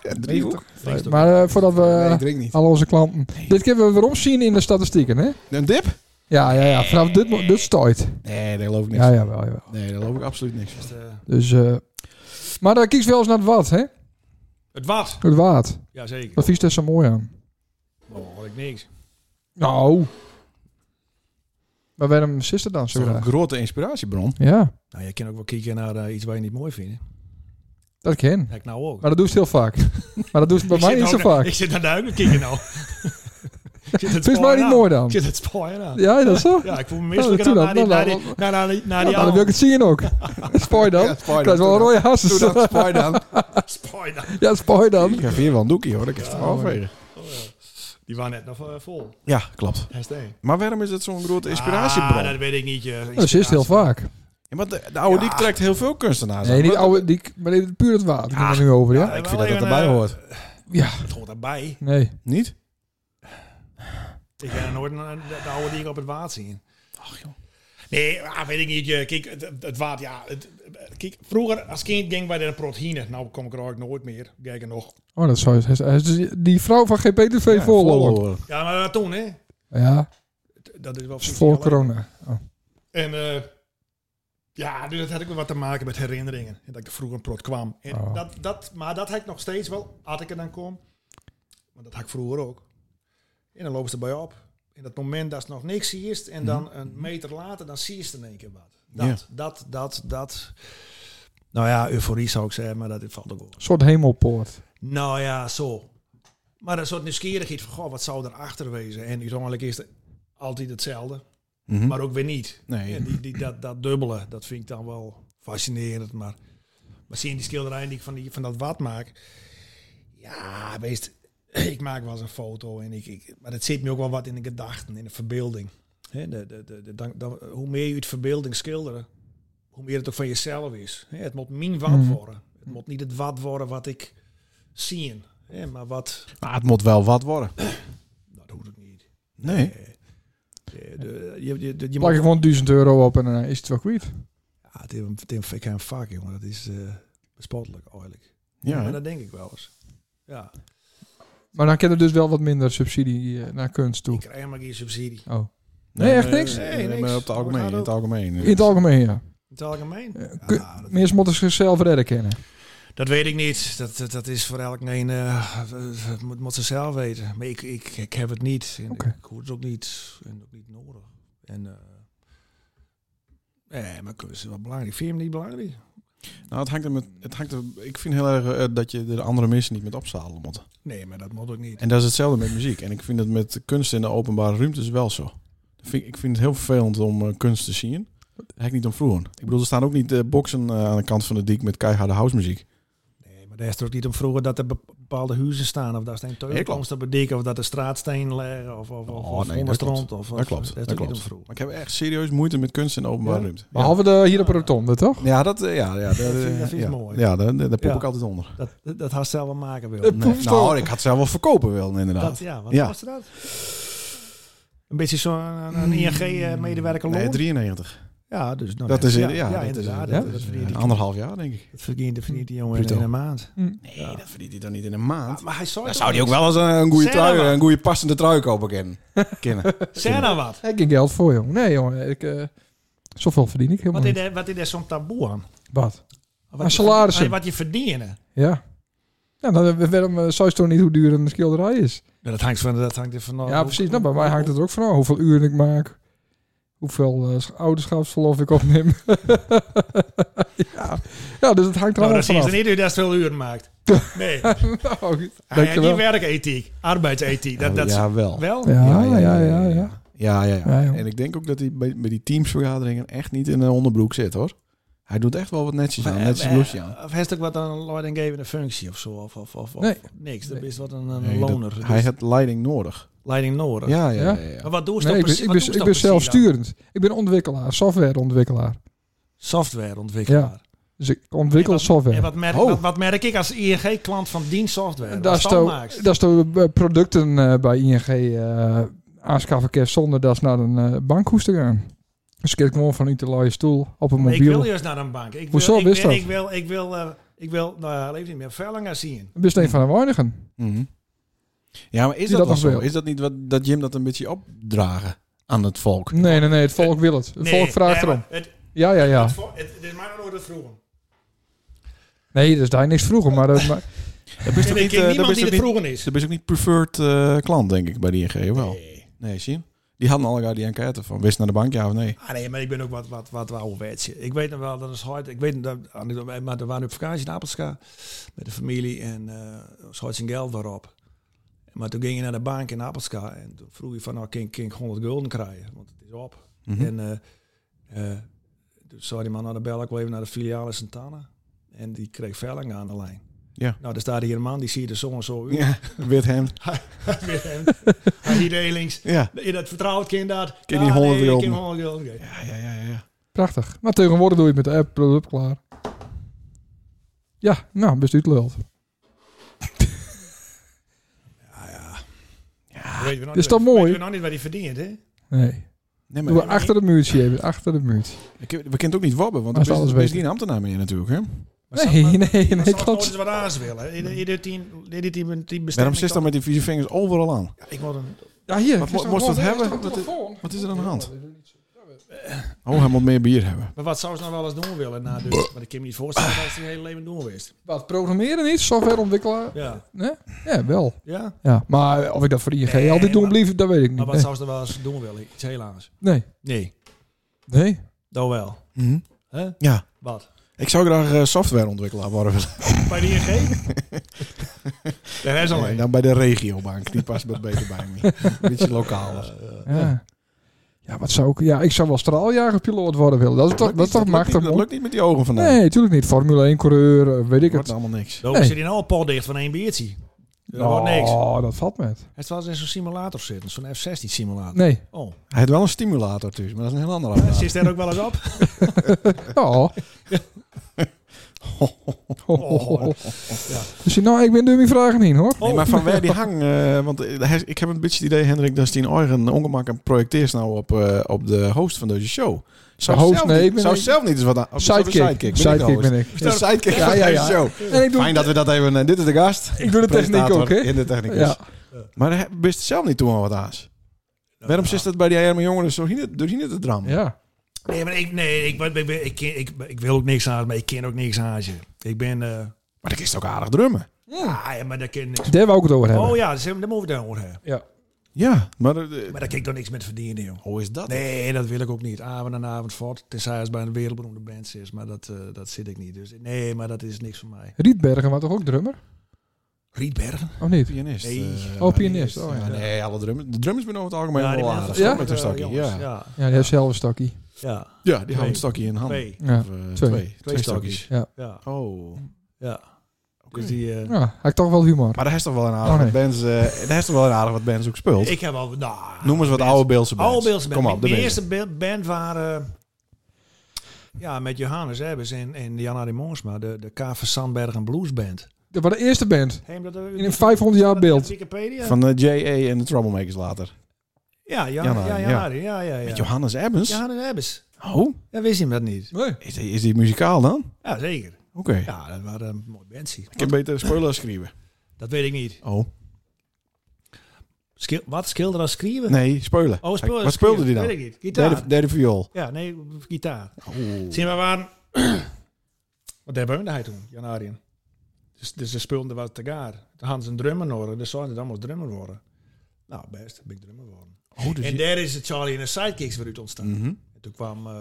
A: Een driehoek?
B: Maar eh, voordat we
A: Nee, ik
B: eh,
A: drink niet.
B: al onze klanten... Dit kunnen we weer omzien in de statistieken, hè?
A: Een dip?
B: Ja, ja, ja. Vanaf dit, mo- dit stoit.
A: Nee, daar geloof ik niks
B: Ja, ja, wel, jawel.
A: van. Nee, daar geloof ik absoluut niks van.
E: Dus, eh,
B: Dus, eh, maar dan kies wel eens naar het wat, hè?
E: Het was.
B: Het waard.
E: Jazeker.
B: Wat vies daar zo mooi aan?
E: Oh, had ik niks.
B: Nou. Maar waarom zit het dan
A: Dat
B: zo
A: is toch een
B: graag?
A: grote inspiratiebron.
B: Ja,
E: Nou, je kan ook wel kijken naar eh, iets wat je niet mooi vindt. hè.
B: dat ken.
E: Dat heb ik nou ook.
B: Maar dat doe ze heel vaak. maar dat doen ze bij
E: Ik
B: mij
E: zit nou
B: niet zo
E: ook naar-
B: vaak.
E: Ik zit naar duimen kijken nou. Ik zit het
B: Vind je mij
E: spoor
B: niet
E: aan.
B: mooi dan?
E: Ik zit het spoor aan.
B: Ja, dat is zo.
E: Ja, ik voel
B: dat
E: me misselijk
B: doe
E: naar die
B: dat.
E: naar
B: Nou,
E: die- naar- naar die- naar
B: Ja,
E: die
B: dan wil ik
E: oude.
B: het zien ook. Spoor dan.
A: Ja, spoor dan,
B: Krijg wel
A: doe
B: een
A: dan.
B: rode hasses.
A: Doe dat, spoor dan.
E: Spoor dan.
B: Ja, spoor dan. Nou,
A: Ik heb hier wel een doekje hoor, dat kan je toch afvegen.
E: Oh, ja. Die waren net nog eh, vol.
A: Ja, klopt.
E: Hashtag.
A: Maar waarom is het zo'n grote inspiratiebron?
E: Ah, dat weet ik niet. eh,
B: Oh, Dat is heel vaak.
A: Ja, want de, de oude dik trekt heel veel kunstenaars
B: Nee,
A: aan.
B: niet
A: Maar-
B: oude, die, maar dit- puur het water.
E: Ja.
B: Ja. nu over, ja?
A: Ik
E: wel
A: vind dat dat
E: even,
A: erbij
E: eh,
A: hoort.
B: Ja,
E: Het hoort erbij.
B: nee.
A: Niet?
E: Ik ben er nooit een- de, de oude die ik op het water zien. Ach joh. Nee, ah, weet ik niet. je. Kijk, het, het- het water, ja. Het, kijk, vroeger als kind ging wij naar de prothine. Nou kom ik er eigenlijk nooit meer. Kijk er nog.
B: Oh, dat zou hij- hij is dus die vrouw van GPTV
A: Ja,
B: voorlopen.
A: follower.
E: Ja, maar dat toen, hè?
B: Ja,
E: Dat is wel
B: dat is voor
E: precies wel-
B: corona. Oh.
E: En eh, ja, dus dat had ik wel wat te maken met herinneringen. En Dat ik er vroeger een prot kwam. En
B: Oh.
E: dat, dat, maar dat had ik nog steeds wel, als ik er dan kom. Maar dat had ik vroeger ook. En dan lopen ze erbij op. In dat moment dat ze nog niks ziet en dan een meter later, dan zie je ze in één keer wat. Dat, dat, dat, dat. Nou ja, euforie zou ik zeggen, maar dat valt ook wel.
B: Een soort hemelpoort.
E: Nou ja, zo. Maar een soort nieuwsgierigheid van, goh, wat zou erachter wezen? En uiteindelijk is het altijd hetzelfde,
A: Mhm.
E: maar ook weer niet.
A: Nee.
E: Ja, die, die, dat, dat dubbele, dat vind ik dan wel fascinerend. Maar, maar zie je die schilderij die ik van, die, van dat wat maak? Ja, wees, ik maak wel eens een foto. En ik, ik, maar dat zit me ook wel wat in de gedachten, in de verbeelding. Hè, de, de, de, de- dan, dan- hoe meer je het verbeelding schilderen, hoe meer het ook van jezelf is. Hè, het moet min wat
B: Mhm.
E: worden. Het moet niet het wat worden wat ik zie. Hè, maar wat,
A: Maar het moet wel wat worden.
E: nou, dat hoeft ook niet.
A: Nee.
E: Eh, de- je, je, je, je
B: Plak ik
E: moet-
B: gewoon 1000 euro op en dan is het wel kwijt.
E: Ja, het is een- het is een- ik heb een vak, jongen. Dat is eh bespottelijk, eigenlijk.
A: Ja,
E: Maar
A: hè?
E: dat denk ik wel eens. Ja,
B: Maar dan kent er dus wel wat minder subsidie eh, naar kunst
E: ik
B: toe.
E: krijg maar geen subsidie.
B: Oh. Nee, echt niks?
E: Nee,
A: Nee,
E: niks.
A: maar op het algemeen. In het algemeen. eh.
B: In het algemeen, ja.
E: In het algemeen?
B: Eh,
E: Ja,
B: kun-
E: dat,
B: Mensen moeten zichzelf redden kennen.
E: dat weet ik niet. Dat, dat, dat is voor elk een... eh, dat moet, moet ze zelf weten. Maar ik, ik, ik heb het niet. En
B: Oké.
E: Ik hoor het ook niet. En ook niet nodig. En... eh Nee, maar kunst is wel belangrijk. Vind je hem niet belangrijk?
A: Nou, het hangt er met, het hangt er, ik vind heel erg eh, dat je de andere mensen niet met opzadelen moet.
E: Nee, maar dat moet ook niet.
A: En dat is hetzelfde met muziek. En ik vind dat met kunst in de openbare ruimtes wel zo. Dat vind Ik ik vind het heel vervelend om eh, kunst te zien. Eigenlijk niet om vroeger. Ik bedoel, er staan ook niet eh, boksen eh, aan de kant van de dik met keiharde housemuziek.
E: Nee, maar daar is er ook niet om vroeger dat er bepaalde huizen staan. Of daar steen teugelkomsten bedekken. Of dat er straatstenen liggen. Of, of, of,
A: Oh,
E: of
A: nee, dat
E: onderstrand. Of,
A: Dat
E: of-
A: klopt,
E: Daar is
A: dat
E: er ook niet
A: klopt.
E: om vroeger.
A: Maar ik heb echt serieus moeite met kunst in de openbare
E: Ja?
A: ruimte. Ja,
B: Behalve de, hier op de rotonde, toch?
A: ja dat eh, ja, ja, dat, eh,
E: vind- dat vind
A: ja.
E: ik mooi.
A: Ja, daar, daar pop
E: Ja.
A: ik altijd onder.
E: Dat, dat haar zelf wel maken wil.
B: Dat
A: Nee.
B: hoeft
A: Nou,
B: toch?
A: ik had het zelf wel verkopen willen, inderdaad.
E: Dat, ja, wat
A: Nou. Ja.
E: was dat? Een beetje zo'n een- een
A: eh,
E: ING-medewerker
A: Mm. Nee,
E: eh, loon?
A: 93.
E: Ja, dus... Nou,
A: Dat
E: ja,
A: is, Oh, ja,
E: ja,
A: dat is
E: inderdaad.
A: ja,
E: dat-
A: dat
E: Dat
A: is,
E: verdient
A: eh,
E: die-
A: anderhalf jaar, denk ik.
E: dat verdient dat verdient die jongen
A: Bruto.
E: in een maand.
A: Nee, dat verdient hij dan niet in een maand.
E: Maar hij zou
A: Dan zou hij ook wel eens een, een goede
E: Zeg
A: trui,
E: maar.
A: een goede passende trui kopen kennen. kennen.
E: Zeg nou wat.
B: Ik heb geld voor, jongen. Nee, jongen. Ik, eh, zoveel verdien ik helemaal
E: Wat is
B: niet.
E: er- Wat is er zo'n taboe aan?
B: Wat?
E: Wat
B: Aan
E: je-
B: salarissen.
E: Wat je verdienen.
B: Ja. Ja, dan eh, waarom eh, zou je toch niet hoe duur een schilderij is?
E: Ja, Dat hangt van... Dat hangt er van
B: ja, precies. Nou, bij mij hangt het er ook van af hoeveel uren ik maak. Hoeveel eh, sch- ouderschapsverlof ik opneem. ja. ja, dus het hangt er allemaal
E: Nou, dat is
B: vanaf.
E: er niet dat je veel uren maakt. Nee.
B: Nou,
E: Hij heeft die
B: dankjewel.
E: werkethiek. Arbeidsethiek. Dat, dat is
A: ja, wel.
E: wel...
B: Ja, ja, ja, ja.
A: Ja, ja, ja.
B: Ja, joh.
A: en ik denk ook dat hij bij, bij die teamsvergaderingen echt niet in een onderbroek zit, hoor. Hij doet echt wel wat netjes aan, netjes blouseje aan.
E: eh, Of heeft het ook wat aan een leidinggevende functie of zo? Of, of, of, of
B: Nee.
E: niks. Dat
B: Nee.
E: is wat een, een
A: Nee, dat-
E: loner. Dus
A: hij had leiding nodig.
E: leiding nodig.
A: Ja, ja, ja.
B: Ja?
A: ja, ja.
E: Maar wat doe je
B: Nee,
E: dan
B: ik ben,
E: precies?
B: ik ben,
E: wat doe
B: ik
E: je dan
B: ben
E: precies
B: zelfsturend. Ik ben ontwikkelaar, softwareontwikkelaar.
E: dan? Softwareontwikkelaar.
B: Ja, Dus ik ontwikkel
E: En wat- En
B: software.
E: wat merk,
A: Oh.
E: wat, wat merk ik als ING-klant van die software?
B: Daar
E: Als
B: staan
E: standmaaks.
B: daar staan, eh, producten eh, bij ING eh aanschaffen kerst zonder dat ze naar een eh, bank hoest te gaan. Dus ik heb gewoon vanuit de laaie stoel op een
E: Nee, ik wil
B: mobiel.
E: juist naar een bank. Ik wil,
B: Hoezo,
E: ik,
B: wist
E: wil-
B: dat?
E: Ik wil, ik wil, eh, ik wil, nou ja, leeft niet meer, Vellinger zien.
B: Bist een van de weinigen.
A: Mhm. Ja, maar is
B: Die
A: dat, wel
B: dat nog
A: zo?
B: wil.
A: Is dat niet wat, dat Jim dat een beetje opdragen aan het volk?
B: Nee, nee, nee, het volk wil het. Het
E: Nee,
B: volk vraagt
E: nee,
B: erom.
E: maar Het,
B: Ja, ja, ja.
E: het, vo- het, het is mij nog nooit het vroegen.
B: Nee, dus daar niks vroeger, maar, dat- maar
A: Dat is
E: En
A: toch
E: ik
A: niet,
E: ken
A: eh, dat
E: niemand
A: is
E: die
A: toch
E: het
A: niet,
E: vroegen is.
A: dat is ook niet preferred eh, klant, denk ik, bij die ING, wel? Nee, zie je? Die hadden allemaal die enquête van wist naar de bank ja of nee.
E: Ah nee, maar ik ben ook wat, wat, wat ouderwetsje. Ik weet nog wel, dat is hard. Ik weet dat, ah, maar we waren op vakantie in Appelska met de familie en eh ons had zijn geld daarop. Maar toen ging je naar de bank in Appelska en toen vroeg je van, nou, kan, kan ik 100 gulden krijgen? Want het is op.
A: Mhm.
E: En eh, eh, toen zei die man, nou, dan bel ik wel even naar de filiale in Santana. En die kreeg Velling aan de lijn.
A: Ja.
E: Nou, daar staat hier een man, die zie je er zo en zo uit.
A: Mhm. Ja, wit hem.
E: Hij hier de links.
A: Ja.
E: Je dat vertrouwt, kind dat.
A: Ken die 100
E: nee,
A: gulden.
E: ken 100 gulden. Oké.
A: Ja, ja, ja, ja.
B: Prachtig. Maar tegenwoordig doe je het met de app, product klaar. Ja, nou, bestuurt lult.
E: Weet we nog
B: Is
E: niet
B: Ah, dus dat
E: wat-
B: mooi?
E: Weet we nog niet wat hij verdient, hè?
B: Nee.
A: Nee,
B: Doe we
A: maar
B: achter het muurtje even, achter het muurtje.
A: ik, we kunnen het ook niet wobben, want
B: Als
A: er is,
B: alles
A: er is
B: weet.
A: geen ambtenaar meer natuurlijk. Hè?
E: Maar
B: Nee,
E: zou-
B: nee, nee,
E: maar zou het nooit
B: klopt.
E: eens wat aans willen. In- in dit team- in dit team- team
A: Waarom
E: bestemming
A: zit dan
E: kan-
A: met die vieze vingers overal aan?
E: Ja, Ik word een...
B: Ja, hier.
A: Wat mo- moest dat hebben? Wat is- Wat is er aan de hand? Oh, hij moet meer bier hebben.
E: Maar wat zou ze nou wel eens doen willen na dus? Maar ik kan me niet voorstellen dat ze het hele leven doen geweest.
B: Wat, programmeren niet? Softwareontwikkelaar?
E: Ja.
B: Ja, wel.
E: Ja?
B: Ja, maar of ik dat voor ING
E: Nee,
B: altijd doe,
E: maar-
B: blieft, dat weet ik
E: Maar
B: niet.
E: wat zou ze nou wel eens doen willen? Iets heel anders.
B: Nee.
E: Nee.
B: Nee.
E: Dat wel.
A: Mhm.
E: Hè?
A: Ja.
E: Wat?
A: Ik zou graag eh, softwareontwikkelaar worden.
E: Bij de ING? Daar is al
A: En
E: een.
A: dan bij de regiobank. Die past wat beter bij me. Een beetje lokaler.
B: Nee. Ja. Ja, wat zou ik... Ja, ik zou wel straaljagerpiloot worden willen. Dat is toch, dat is toch
A: lukt niet-
B: machtig,
A: Dat
B: man.
A: lukt niet met die ogen vandaan.
B: Nee, natuurlijk niet. Formule 1 coureur, eh, weet ik
A: Ik
B: het.
A: wordt allemaal niks.
E: Dan
B: Nee.
E: zit hij nou al pot dicht van één biertje. Dat wordt niks.
B: Oh, dat valt met.
E: Het was in zo'n simulator zitten. Zo'n F-16 simulator.
B: Nee.
E: Oh.
A: Hij heeft wel een stimulator dus, maar dat is een heel ander
E: Ja,
A: apparaat.
E: Zit daar ook wel eens op?
B: Oh.
E: Oh.
B: Dus nou, ik ben door mijn vragen heen, hoor.
A: Nee, maar van waar die hang, eh, want eh, hij- ik heb een beetje het idee, Hendrik, dat die eigen ongemak en projecteert nou op, eh, op de host van deze show. Zou
B: De host,
A: zelf
B: nee,
A: niet,
B: ik ben
A: zou
B: niet-
A: zelf niet eens wat aan. of zou de
B: Sidekick.
A: sidekick. Ben
B: Sidekick
A: ik. de
B: ben
A: host?
B: ik.
A: Is de sidekick
B: Ja,
A: van
B: ja,
A: deze
B: ja.
A: show.
B: En ik doe,
A: Fijn dat we dat even. eh, dit is de gast.
B: ik doe de techniek ook,
A: Presentator
B: hè?
A: In de technicus.
B: Ja.
A: Maar hij wist zelf niet toen al wat aas. Waarom zit dat bij die arme jongeren zo hier door hier te dram?
B: Ja.
E: Nee, maar ik, nee, ik, ik, ik, ik, ken- ik, ik wil ook niks aan, maar ik ken ook niks aan je. Ik ben... eh
A: Maar dat is ook aardig drummen.
E: ah, ja, maar daar ken ik niks.
B: Daar wou ik het over hebben.
E: Oh ja, daar moeten we het over hebben.
B: ja.
A: Ja, maar eh,
E: Maar daar kan ik toch niks met verdienen, joh.
A: hoe is dat?
E: Nee, dat wil ik ook niet. Avond en avond voort. Tenzij het bij een wereldberoemde band is. Maar dat, eh, dat zit ik niet. Dus nee, maar dat is niks voor mij.
B: Rietbergen was toch ook drummer?
E: Rietbergen?
B: Of niet?
A: Pianist.
E: Nee.
A: eh,
B: Oh, pianist. Oh,
A: Ja,
B: ja.
A: nee, alle drummers. De drummers zijn over het algemeen
E: die
A: wel
E: mensen
A: aardig.
E: toch
A: Ja?
E: met,
A: Met een
E: eh,
A: stokje.
E: jongens.
A: Ja.
E: ja.
B: Ja, die heeft zelf een stokkie.
E: Ja.
A: Ja, die houden
E: Twee.
A: een stokje in handen.
E: Twee.
B: Ja.
A: Of, eh, twee.
B: Twee.
E: Twee
A: Twee
E: stokjes.
A: stokjes.
B: Ja.
E: Ja.
A: Oh.
E: ja.
A: Oké.
E: Dus die... eh,
B: Ja, hij heeft toch wel humor.
A: Maar daar is toch wel een aardig
B: Oh, nee.
A: wat bands. eh daar is toch wel een aardig wat bands ook speelt.
E: ik heb al... Nou,
A: Noem eens wat oude Beelse bands.
E: Al Beelse band.
A: Kom op, de
E: Mijn eerste be- band waren... Ja, met Johannes Ebbers en, en Jan-Arie Moonsma. De, de KV Sandberg en Blues Band.
B: Dat was de eerste band.
E: Heem dat
B: In een 500 jaar beeld.
E: Wikipedia?
A: Van de J.A. en de Troublemakers later.
E: ja, Jan,
A: Jan-Arie,
E: ja, Jan-Arie. Ja, ja, ja.
A: Met Johannes Ebbens?
E: Johannes Ebbers.
A: Oh,
E: Ja, wist je hem dat niet?
B: Nee.
A: is, die- is die muzikaal dan?
E: Ja, zeker.
A: Oké.
E: Ja, dat waren eh, een mooi bandje.
A: Ik heb beter spoilers schrijven.
E: Dat weet ik niet.
A: Oh.
E: Schil- wat? Schilder als schreeuwen?
A: Nee, speulen.
E: Oh, speelde.
A: Wat speelde die
E: Weet
A: dan?
E: ik niet. Gitaar.
A: Derde, derde viool.
E: Ja, nee, gitaar.
A: Oh.
E: Zie je, we waren... wat hebben we daar toen, Jan Arjen? Dus, dus ze speelden wat te gaar. Dan hadden ze een drummer nodig. Dus zouden ze dan moest drummer worden. Nou, best. Dan ben ik drummer geworden.
A: Oh, dus
E: en
A: je-
E: daar is het Charlie en de Sidekicks weer uit ontstaan.
A: Mhm.
E: En toen kwam... eh,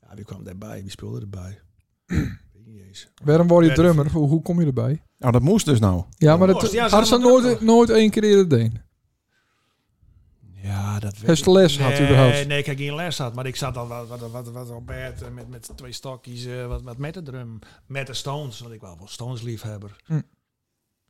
E: ja, wie kwam daarbij? Wie speelde erbij? Weet niet eens.
B: Waarom word je drummer? Hoe, hoe kom je erbij?
A: Nou, dat moest dus nou.
B: Ja, maar
E: moest.
B: dat
E: Ja, ze
B: had ze
E: hadden
B: nooit, nooit één keer eerder deed.
E: Ja, dat weet
B: Heeft
E: ik.
B: ze les gehad
E: nee,
B: überhaupt?
E: Nee, ik heb geen les gehad. Maar ik zat al wat, wat, wat, wat op bed eh, met, met twee stokjes, eh, wat, wat met de drum. Met de Stones, want ik was wel Stones liefhebber.
B: Hm.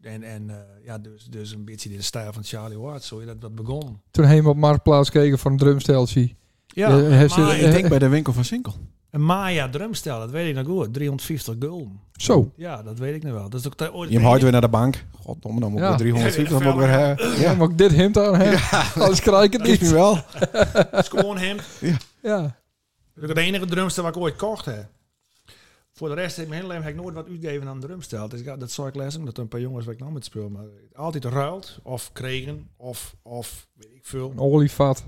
E: En, en eh, ja, dus, dus een beetje in de stijl van Charlie Watts, zo je dat, dat begon.
B: Toen helemaal op Marktplaats keken voor een drumsteltje.
E: Ja,
B: Ja,
E: een,
B: heeft eh, ze-
E: Maya,
A: Ik denk bij de winkel van Sinkel.
E: een Maya drumstel, dat weet ik nog goed. 350 gulden.
B: Zo.
E: Ja, dat weet ik nog wel. Dat is ook te- ooit
A: Je hem haalt weer naar de bank. Goddomme, dan moet ik
B: Ja.
A: weer 350 dan moet ik weer hebben.
B: Ja.
A: Ja,
B: Mag ik dit hemd aan hebben? Anders krijg ik het
A: is nu
B: niet.
A: wel.
E: Schoon hem.
B: Ja.
E: Dat is ook de enige drumstel wat ik ooit kocht heb. Voor de rest in mijn hele leven heb ik nooit wat uitgegeven aan een drumstel. Dus ik had- dat zou ik lezen, omdat er een paar jongens waar ik nou met speel. Maar altijd ruilt, of kregen, of, of weet ik veel.
B: Een olievat.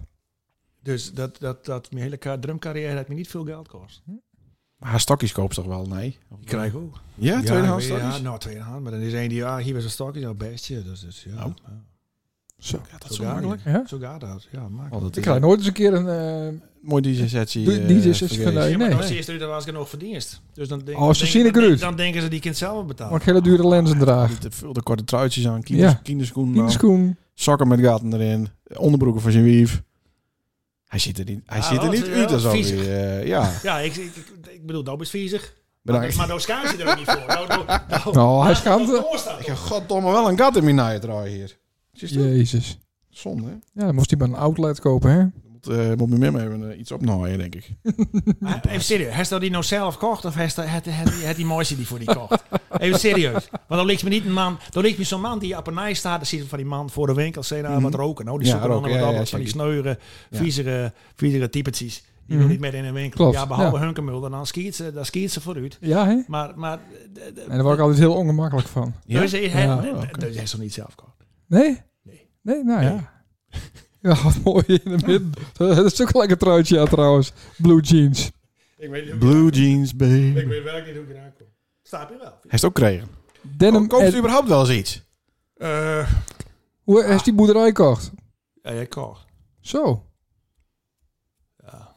E: Dus dat, dat, dat mijn hele ka- drumcarrière heeft me niet veel geld kost.
A: Maar haar stokjes koopt ze toch wel, nee?
E: Ik krijg ook.
A: Ja, tweedehands
E: Ja,
A: stokjes?
E: nou, tweedehands. Maar dan is één die, ah, hier was een stokje, nou bestje. Dus, dus, ja.
A: Oh. Zo, dat is zo
E: gaat
A: makkelijk.
B: Ja?
E: Zo gaat dat. Ja, maak.
A: Oh, dat
B: Ik
A: is
B: krijg
A: een
B: nooit eens een keer een... eh,
A: mooi DJ-sessie.
B: Die-
A: eh,
B: DJ-sessie
A: vergeet.
B: van, eh,
E: Ja, maar dan
B: nee.
E: zie je eruit als ik nog verdienst. Dus dan denk,
B: Oh, ze
E: dan
B: zien
E: denk-
B: er
E: dan-
B: uit.
E: Dan denken ze die kind zelf betalen.
B: Mag ik hele dure lenzen dragen.
A: Niet te veel de korte truitjes aan,
B: Ja.
A: kinders, kinderschoenen aan,
B: Kinderschoen.
A: sokken met gaten erin, onderbroeken voor zijn wief. Hij ziet er niet, hij
E: Ah,
A: ziet er
E: wat,
A: niet
E: ja,
A: uit als alweer,
E: viezig.
A: eh, ja,
E: Ja, ik, ik, ik, ik bedoel, dat is viezig. Maar,
A: bedankt.
E: maar nou schaamt je er ook niet voor. Nou, nou, nou,
B: Nou, hij
E: laat
B: schaamt
E: het
B: er.
E: doorstaan.
A: Ik heb goddomme wel een gat in mijn naaien draai hier. Zie je dat?
B: Jezus.
A: Zonde, hè?
B: Ja, dan moest hij bij een outlet kopen, hè?
A: Moet, eh moet mijn mem even eh, iets opnaaien, denk ik.
E: Maar Even serieus, heeft dat die nou zelf kocht of heeft dat- het- het- het die mooiste die voor die kocht? Even serieus. Want dan ligt me niet een man, dan ligt me zo'n man die op een nij staat, dan ziet van die man voor de winkel, zei nou wat roken. Nou, die
A: Mhm. Ja,
E: zoeken
A: roken,
E: dan wat
A: ja,
E: op,
A: ja,
E: van die
A: zeker.
E: sneure,
A: Ja.
E: viezere, viezere typetjes. Die
B: Mhm.
E: wil niet meer in een winkel.
B: Klopt,
E: ja, behalve
B: ja.
E: Hunkemulder, dan skiet ze, dan skiet ze vooruit.
B: Ja, hè?
E: Maar, maar
B: En daar word ik altijd heel ongemakkelijk van.
A: Ja?
E: dus, hij,
B: Ja.
E: hij-
A: Oh, oké.
E: dus hij is nog niet zelf kocht.
B: Nee?
E: Nee.
B: Nee, nou
E: Nee.
B: ja. Ja, wat mooi in de midden. Dat is ook een lekker truitje, ja, trouwens. Blue jeans.
E: Ik weet,
A: Blue jeans, baby. Hij
E: weet wel niet hoe ik eraan kom. Staat je wel?
A: heeft ook kregen.
B: Denim.
A: Ko- Koopt u
B: en-
A: überhaupt wel eens iets?
B: Hoe heeft die boerderij gekocht?
E: Eh, ja, jij kocht.
B: Zo.
E: Ja.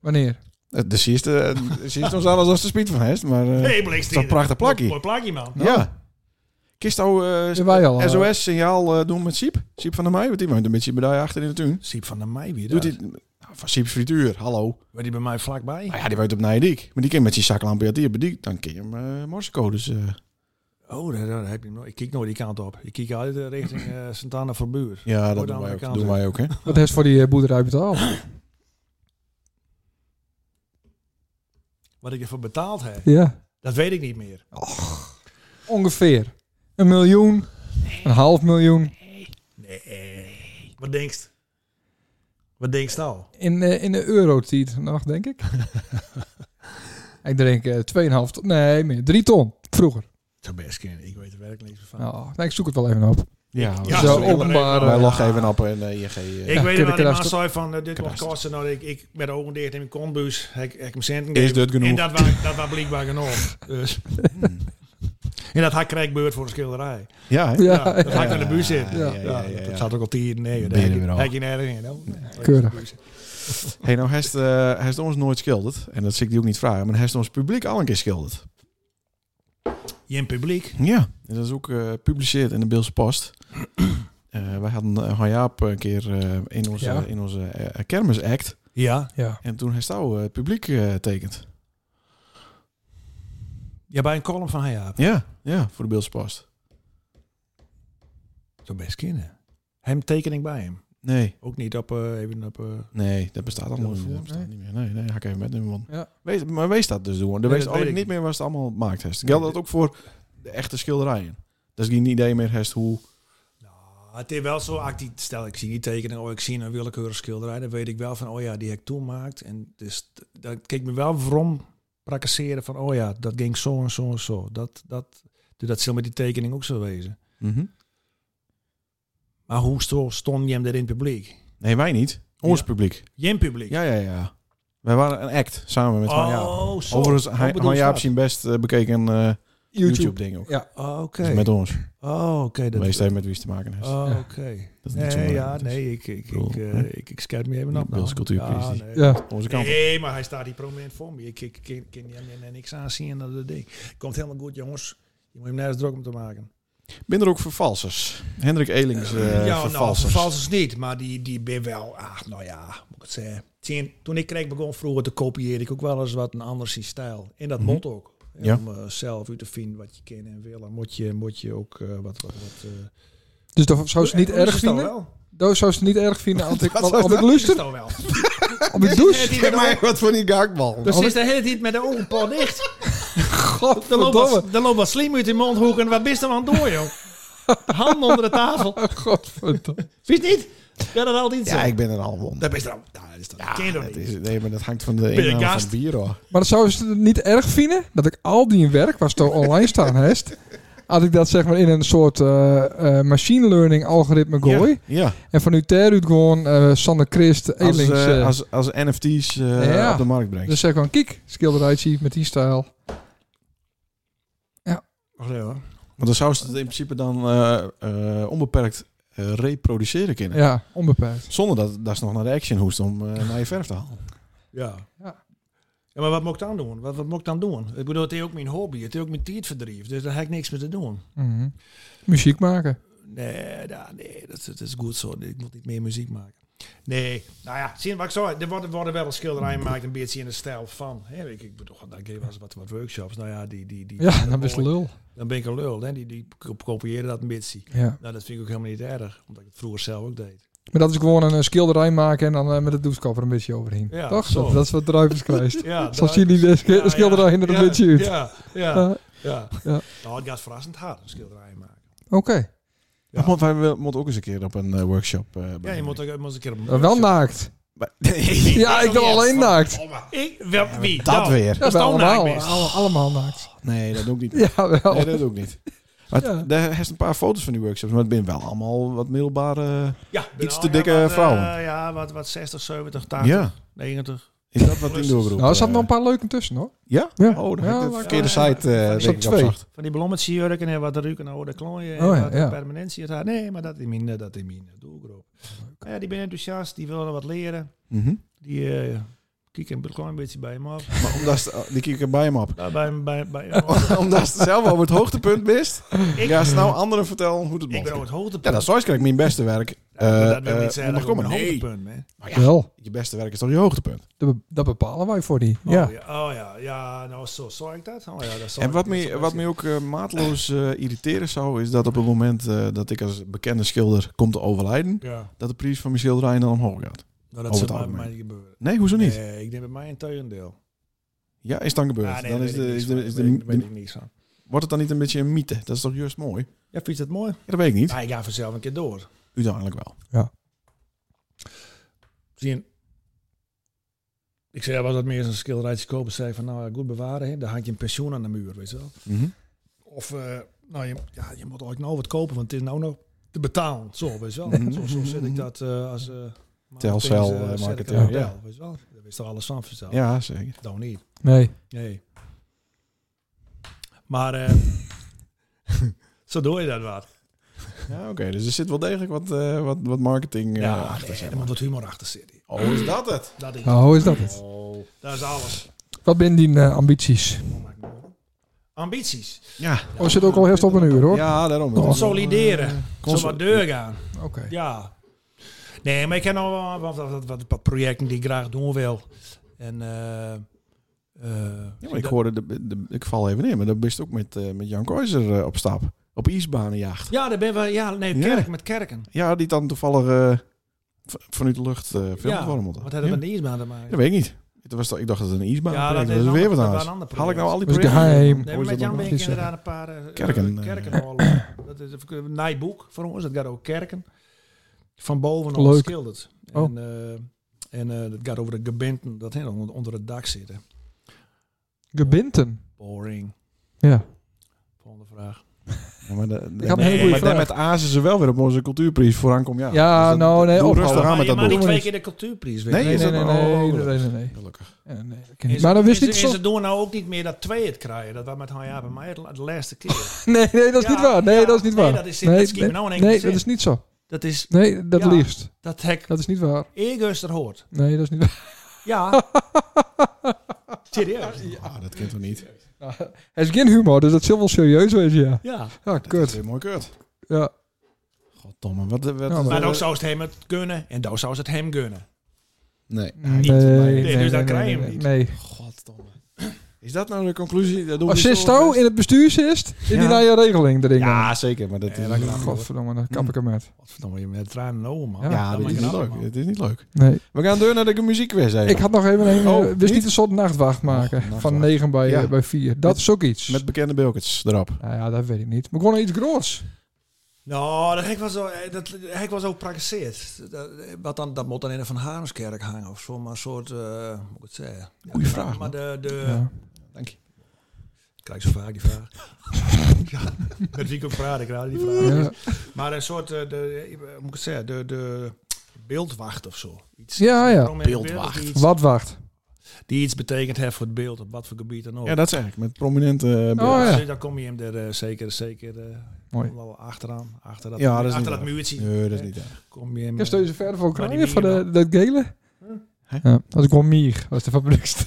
B: Wanneer?
A: Eh, De sieste is ons alles als de speed van heeft, maar... eh,
E: Nee, blikst
A: dat is een prachtig plakkie.
E: Mooi plakje, man.
A: Ja. Kist nou eh,
B: Zijn wij al, eh,
A: SOS-signaal doen met Siep? Siep van der Meij, want die woont een beetje bij achter in de tuin.
E: Siep van de Mei weer.
A: Doet
E: Doet
A: hij... Nou, van Siep's frituur, hallo.
E: Waar die bij mij vlakbij?
A: Nou ja, die woont op Nijdijk. Maar die kan met die zaklamp uit hier, maar die, dan kun je hem eh morsecodes... eh,
E: Oh, daar, daar heb je hem nog. Ik kijk nooit die kant op. Ik kijk uit eh, richting eh sint anna voor Buur.
A: ja,
E: de
A: dat doen wij,
E: andere
A: ook,
E: kant
A: doen wij ook, hè.
B: Wat heeft voor die eh, boerderij betaald?
E: Wat ik ervoor betaald heb,
B: Ja.
E: dat weet ik niet meer.
B: Ongeveer. Een miljoen. Een half miljoen.
E: Nee. Wat denkst? Wat denkst nou?
B: In, eh, in de eurotiet nog, denk ik. ik drink eh 2,5 ton. Nee, meer. 3 ton. Vroeger.
E: Zo best kunnen. Ik weet er werkelijk niks
A: Ah.
E: van.
B: Oh, nee, ik zoek het wel even op.
A: Ja,
E: Ja,
B: Zo
E: sorry, maar
B: openbaar,
E: even-
A: Wij
B: eh,
A: loggen even op en eh ING. eh,
E: Ik
B: Ja,
E: weet wel, die man
B: kadaster.
E: zei van, eh, dit wordt
A: Kadaster.
E: kosten. Nou, ik, ik met de ogen dicht in mijn kontbuis, heb ik heb ik hem centen
A: Is
E: gegeven.
A: dit genoeg?
E: En dat was, dat was blijkbaar genoeg. Dus. En dat had krijgbeurt voor een schilderij.
A: Hmm. Ja, hè?
E: Ja,
B: Ja,
E: dat had ik aan de buurt zitten.
A: Ja,
E: Ja,
A: ja, ja, ja, ja.
E: Dat zat ook al tien. Nee,
A: Ben
E: daar
A: je er
E: heb je-
A: weer al.
E: daar heb je nergens in. hoor. Nee,
B: Keurig.
E: dat is-
A: Hey, nou heeft, eh heeft ons nooit schilderd. En dat zie ik die ook niet vragen. Maar heeft ons publiek al een keer schilderd.
E: Je in publiek.
A: Ja. En dat is ook eh gepubliceerd in de Beelse Post. Eh, wij hadden eh, Han Jaap een keer eh, in onze,
B: Ja.
A: in onze eh, kermisact.
E: Ja.
B: Ja.
A: En toen heeft jou eh, het publiek eh tekend.
E: Ja, bij een column van Hayaap.
A: Ja, ja, voor de Beelse Post.
E: Zo best kennen. Hem tekening bij hem.
A: Nee,
E: Ook niet op, eh, even op... eh,
A: nee, dat bestaat allemaal niet,
B: Telefoon,
A: dat bestaat
B: nee.
A: niet meer. Nee, nee, ga ik even met hem. Want
B: Ja.
A: weet, maar wees dat dus doen. Er
E: Nee,
A: wees
E: dat
A: ook
E: weet ik
A: niet
E: niet.
A: meer wat het allemaal maakt. Heeft. Geldt dat ook voor de echte schilderijen? Dat is geen idee meer heeft hoe...
E: nou, het is wel zo, als ik die- stel ik zie die tekening, oh ik zie een willekeurige schilderij, dan weet ik wel van, oh ja, die heb ik toen gemaakt. En dus, t- dan keek me wel vrom prakasseren van, oh ja, dat ging zo en zo en zo. Dat, dat, dus dat zal met die tekening ook zo wezen.
A: Mhm.
E: Maar hoe sto- stond je hem er in het publiek?
A: Nee, wij niet. Ons
E: Ja.
A: publiek.
E: Je in het publiek?
A: Ja, ja, ja. Wij waren een act samen met Han Jaap.
E: oh, zo.
A: Overigens,
E: Oh,
A: hij-
E: bedoel
A: Han
E: je
A: Jaap
E: dat?
A: zijn best eh, bekeken eh YouTube-ding ook.
B: Ja.
E: Oh, oké.
A: Dus met ons.
E: Oh, oké. dat-
A: Wees even met wie het te maken heeft.
E: Oh,
B: Ja.
E: oké.
A: Dat is niet zo
E: Nee,
A: belangrijk,
E: ja,
A: dus.
E: nee, ik, ik,
A: bedoel,
E: ik, eh,
A: hè?
E: ik, ik scout me even
A: Die
E: op. nou.
A: Beelse cultuurcrisis.
E: nee.
B: Ja.
A: Onze kant. op.
E: Nee, maar hij staat hier prominent voor me. Ik, ik, ik kan niet aan niks aanzien dat dat ding. Komt helemaal goed, jongens. Je moet hem nergens druk om te maken.
A: Ben er ook vervalsers? Hendrik Elings eh
E: ja, nou,
A: vervalsers.
E: vervals is niet, maar die, die ben wel, ah, nou ja, moet ik het zeggen. Tien, toen ik kreeg begon vroeger te kopiëren, ik ook wel eens wat een anders in stijl. En dat
A: Mhm.
E: moet ook. En
A: Ja.
E: Om eh, zelf uit te vinden wat je kan en wil. Dan moet je, moet je ook eh, wat... wat, wat eh,
B: Dus dat zou ze niet
E: hoe is
B: erg
E: het dan
B: vinden?
E: wel?
B: Dat zou ze niet erg vinden als ik,
A: Dat
B: als
A: zou
B: als
A: ze
B: ik
E: Is
B: luister,
E: het dan wel?
B: op de douche.
A: Geef mij wat voor die gaakbal.
E: Dus is de hele tijd met de ogen pal dicht. Er loopt,
B: Godverdomme.
E: wat, er loopt wat slim uit in mondhoek en wat bist er aan door, joh? Hand onder de tafel.
B: Godverdomme.
E: Wist niet? Ja, dat altijd zo.
A: ja, ik ben er al won.
E: Dat is dan. Nou, dat is dan. ken je dat
A: dat
E: niet.
A: is, nee, maar dat hangt van de
E: je
A: inhoud van
E: gast?
A: het bier, hoor.
B: Maar dat zou ze het niet erg vinden dat ik al die werk was toch online staan heeft. Had ik dat zeg maar in een soort eh, eh, machine learning algoritme gooi.
A: Ja,
B: En van Utrecht uit gewoon eh, Sander Christ,
A: als,
B: Elings.
A: eh,
B: eh,
A: als, als NFT's eh,
B: Ja.
A: op de markt brengt.
B: dus zeg gewoon, kijk, schilderijtje met die stijl.
E: Wacht even, hoor.
A: Want dan zou ze het in principe dan eh, eh, onbeperkt eh, reproduceren kunnen.
B: Ja, onbeperkt.
A: Zonder dat, dat ze nog naar de action hoest om eh, naar je verf te halen.
E: Ja.
B: Ja.
E: Ja, maar wat moet ik dan doen? Wat, wat moet ik dan doen? Ik bedoel, het is ook mijn hobby. Het is ook mijn tijdverdrijf. Dus daar heb ik niks mee te doen.
B: Mhm. Muziek maken.
E: Nee, da, nee dat, is- dat is goed zo. Ik moet niet meer muziek maken. Nee, nou ja, zie je wat ik zei. Er worden, worden wel schilderijen gemaakt, een beetje in de stijl van. Hè, ik, ik bedoel, dan geef was wat, wat workshops. Nou ja, die, die, die,
B: Ja, dan best
E: mooi.
B: lul.
E: dan ben ik een lul. Hè? Die, die kop- kopiëren dat een beetje.
B: Ja.
E: Nou, dat vind ik ook helemaal niet erg, omdat ik het vroeger zelf ook deed.
B: Maar dat is gewoon een eh, schilderij maken en dan eh, met het doekskap er een beetje overheen.
E: Ja,
B: Toch?
E: zo.
B: Dat, dat is wat druivens krijgt.
E: Ja,
B: Zo zien die de sch-
E: Ja, ja.
B: schilderijen er een
E: Ja,
B: beetje uit.
E: Ja, ja,
B: Eh,
E: ja.
B: ja.
E: Nou, het gaat verrassend hard, een schilderij maken.
B: Oké.
E: Ja.
A: Dat moet- wij wil- moeten ook eens een keer op een eh, workshop. eh,
E: Ja,
A: bij-
E: je moet ook je moet een keer op een
B: Eh, Wel naakt.
A: bij-
B: Ja, ik ben alleen naakt.
E: Ik, wel, wie?
A: dat
E: Nou,
A: weer.
B: Ja,
E: Als
B: wel
E: het al naakt Oh,
B: allemaal,
E: is.
B: alle- allemaal naakt.
A: Nee, dat doe ik niet.
B: Ja, wel.
A: Nee, dat doe ik niet. Maar het-
B: Ja.
A: daar heeft een paar foto's van die workshops, maar het zijn wel allemaal wat middelbare.
E: Ja, ben
A: Iets
E: al-
A: te
E: ja,
A: dikke
E: wat, eh,
A: vrouwen.
E: ja, wat, wat 60, 70, 80,
A: Ja,
E: 90.
A: is dat wat in doelgroep?
B: Nou, er zaten
A: eh,
B: nog een paar leuke tussen hoor.
A: Ja?
B: Ja.
A: Oh, dan
B: Ja,
A: heb ik de
B: maar-
A: verkeerde
E: Ja, ja.
A: site eh,
E: Van
A: denk
E: die
A: ik
B: twee.
A: opzocht.
E: Van die blommetje jurken en wat ruiken naar de klooien en
B: Oh ja,
E: wat
B: ja.
E: permanentie. Het haar. Nee, maar dat is mijn, dat is mijn doelgroep. Maar Ja, die ben enthousiast, die willen wat leren.
A: Mhm.
E: Die eh kieken een klein beetje bij hem op.
A: Maar omdat ze, die kijk ik bij hem op.
E: Nou, bij, hem- bij, bij
A: omdat ze zelf over het hoogtepunt bist,
E: Ik-
A: ga ze nou anderen vertellen hoe het
E: ik ben ook
A: moet.
E: het hoogtepunt.
A: Ja, dat is zoals ik mijn beste werk.
E: Ja, dat wil
A: eh,
E: niet zeggen
A: eh,
E: dat ik
A: onderkomen.
E: een
A: Nee.
E: hoogtepunt ben.
B: Wel.
A: Je beste werk is toch je hoogtepunt?
B: Dat be- dat bepalen wij voor die.
E: Oh,
B: ja.
E: ja. Oh ja, ja, nou zo zou ik dat. Oh, ja, dat zou
A: En wat
E: ik- dat zou
A: mij,
E: ik
A: wat
E: zien.
A: mij ook eh, maatloos eh, irriteren zou, is dat op het moment eh, dat ik als bekende schilder kom te overlijden,
E: Ja,
A: dat de prijs van mijn schilderijen dan omhoog gaat.
E: nou,
A: het
E: dat zou bij
A: algemeen.
E: mij niet gebeuren.
A: Nee, hoezo niet?
E: Nee, ik denk bij mij een tegendeel.
A: Ja, is dan gebeurd.
E: Ah, nee,
A: dan
E: daar
A: is
E: weet ik
A: de, is
E: niks
A: de,
E: van.
A: is
E: Daar weet ik-
A: de,
E: daar weet ik niks van.
A: wordt het dan niet een beetje een mythe? Dat is toch juist mooi?
E: Ja, vind je dat mooi?
A: Ja, dat weet Ah, ik niet.
E: Ja, ik ga vanzelf een keer door.
A: Uiteindelijk wel.
E: Zie je, ik zei, was dat meer eens een schilderijtje kopen. Zei ik van, nou ja, goed bewaren. Hè. Dan had je een pensioen aan de muur, weet je wel.
A: Mhm.
E: Of, eh, nou, je, ja, je moet ook nou wat kopen, want het is nou nog te betalen. Zo, weet je wel.
A: Mhm.
E: Zo, zo zet ik dat eh, als... eh
A: Telcel,
E: marketing, eh,
A: eh,
E: zet ik dat
A: marketeer,
E: op
A: ja.
E: tel, Weet je wel. Daar wist er alles van verteld.
A: Ja, zeker.
E: Nou niet.
B: Nee.
E: Nee. Maar eh, zo doe je dat wat.
A: Ja, oké. Dus er zit wel degelijk wat, eh, wat, wat marketing eh,
E: Ja,
A: achter.
E: nee,
A: zeg
E: er moet
A: maar.
E: wat humor achter zitten.
A: Oh, is dat het?
E: Dat is,
B: Nou, hoe is dat het?
E: Oh, dat is alles. Oh
B: Wat ben die eh, ambities?
E: Ambities.
A: Ja,
B: Oh, zit ook al eerst op een uur hoor.
A: ja daarom. Het is wel, eh,
E: Consolideren.
A: consol-
E: Zo wat deur gaan.
B: Oké.
E: Ja. Nee, maar ik heb nog wel wat, wat, wat, wat projecten die ik graag doen wil. En, eh, eh,
A: Ja, maar ik hoorde, de, de- ik val even in, maar dat bist ook met, eh, met Jan Kooijzer eh, op stap. Op ijsbanenjacht.
E: ja, daar ben we. Ja, nee,
A: Ja.
E: kerk met kerken.
A: Ja, die dan toevallig eh, v- vanuit de lucht eh filmpjes
E: Ja,
A: worden
E: wat
A: moeten.
E: hebben we
A: Ja.
E: met de ijsbaan te maken?
A: Dat weet ik niet. Het was, toch- ik dacht dat het een ijsbaan
E: Ja, dat
A: was.
E: is
A: is
E: een
A: weer wat
E: ander-
A: anders.
E: dat is een ander
A: Haal ik nou al die
B: Dat is
A: projecten?
B: geheim.
E: Nee,
A: Hoe
E: maar
A: is
E: met
A: dat
E: Jan
A: dan?
E: ben ik
B: precies,
E: inderdaad een paar eh,
A: Kerken,
E: eh, kerken
A: eh.
E: al, eh, Dat is een naaiboek voor ons. Dat gaat ook kerken. Van bovenop
B: Leuk.
E: geschilderd.
B: Oh.
E: En, eh, en eh, dat gaat over de gebinten dat helemaal onder, onder het dak zitten.
B: Gebinten.
E: Boring.
B: Ja.
E: Volgende vraag.
A: Ja, maar de, de,
B: Ik had een
E: hele goede
A: maar daar
B: vraag.
A: met Azen ze wel weer op onze cultuurprijs voor aankomt. Ja,
B: Ja,
A: dat-
B: nou, nee,
A: doe
B: ophouden.
A: rustig aan
E: maar
A: met
E: je
A: dat
E: mag niet
A: boek.
B: doen.
E: twee keer de cultuurprijs winnen.
A: Nee,
B: Nee,
A: is
B: nee,
A: dat
B: nee,
A: nou-
B: nee,
A: oh,
B: nee, nee, nee.
A: Gelukkig.
B: Ja, nee, dat ken
E: En
B: ik.
E: ze-
B: Maar dat wist
E: en
B: ik
E: ze-
B: zo.
E: En ze doen nou ook niet meer dat twee het krijgen. Dat was met Hanja bij mij de laatste keer.
B: Nee, nee, dat is
E: Ja,
B: niet waar. Nee,
E: ja,
B: dat is niet
E: nee,
B: waar.
E: dat is- dat schiet me nou in één
B: nee,
E: keer
B: dat
E: in.
B: is niet zo.
E: Dat is,
B: Nee, dat
E: Ja.
B: liefst.
E: dat hek
B: Dat is niet waar.
E: eergeuster hoort.
B: Nee, dat is niet waar.
E: Ja. Serieus?
A: Ah, dat kent toch niet?
B: Hij is geen humor, dus dat zal wel serieus wezen, ja.
E: Ja.
B: Ja,
A: Dat is
B: kut.
A: weer mooi kut.
B: Ja.
A: Goddomme, wat... wat
B: Ja,
E: Maar
B: Eh,
E: dan zou het hem het kunnen en dan zou het hem gunnen.
A: Nee.
B: Nee,
E: niet. Nee,
B: nee,
E: dus
B: nee,
E: daar
B: nee,
E: krijg je
B: nee,
E: hem niet.
B: Nee.
A: Goddomme. Is dat nou de conclusie? Dat doen
B: Als
A: we
B: zit
A: dus zo
B: zo
A: best.
B: in het bestuur zit, in die
A: Ja.
B: naar je regeling erin.
A: Ja, zeker, maar dat is...
E: Eh, dat kan ook.
B: Godverdomme, dan kap ik hem uit.
E: Godverdomme, je met tranen in de ogen, man.
B: Ja,
A: ja,
E: Dat
A: dit
E: maakt
A: is
E: het
A: niet leuk.
E: allemaal.
A: Dit is niet leuk.
B: Nee.
A: We gaan door naar de muziekquiz even.
B: Ik had nog even een,
A: Oh,
B: eh, wist niet
A: niet?
B: een soort nachtwacht maken.
A: nachtwacht.
B: Van 9 bij,
A: Ja.
B: eh, bij 4. Dat
A: Met-
B: is ook iets.
A: Met bekende bilkets
E: Oh.
A: erop.
B: Nou ja, dat weet ik niet. Maar gewoon iets groots.
E: Nou, dat hek was, zo- eh, dat hek was ook praktiseerd. Dat, eh, wat dan, dat moet dan in een Van Harenskerk hangen of zo, maar een soort, eh, hoe moet ik het zeggen?
A: Goeie vraag,
E: Maar de, de
B: Ja.
A: Dank je.
E: ik krijg zo vaak die vraag. ja, dat vind ik ook vraag, ik raad die vraag.
B: Ja.
E: Maar een soort, eh, de, eh, hoe moet ik het zeggen, de, de beeldwacht of zo. Iets,
B: Ja, ja.
E: Prominent beeld of
A: Beeldwacht.
E: iets.
B: Wat wacht?
E: Die iets betekend heeft voor het beeld, op wat voor gebied dan ook.
A: Ja, dat zeg ik. Met prominente eh,
B: Oh,
A: beelden.
B: ja.
E: Dus dan kom je hem er eh, zeker, zeker eh,
B: Mooi.
E: wel achteraan. Achter dat,
A: Ja, dat is
E: achter
A: niet
E: dat muurtje Eh,
A: Nee, dat is niet erg.
E: kom je hem...
B: Kan je ze verder voor
E: Maar die
B: krijgen, voor de,
E: mieren
B: dat gele?
A: Hè?
B: Ja, dat is gewoon mier, als de fabriekst.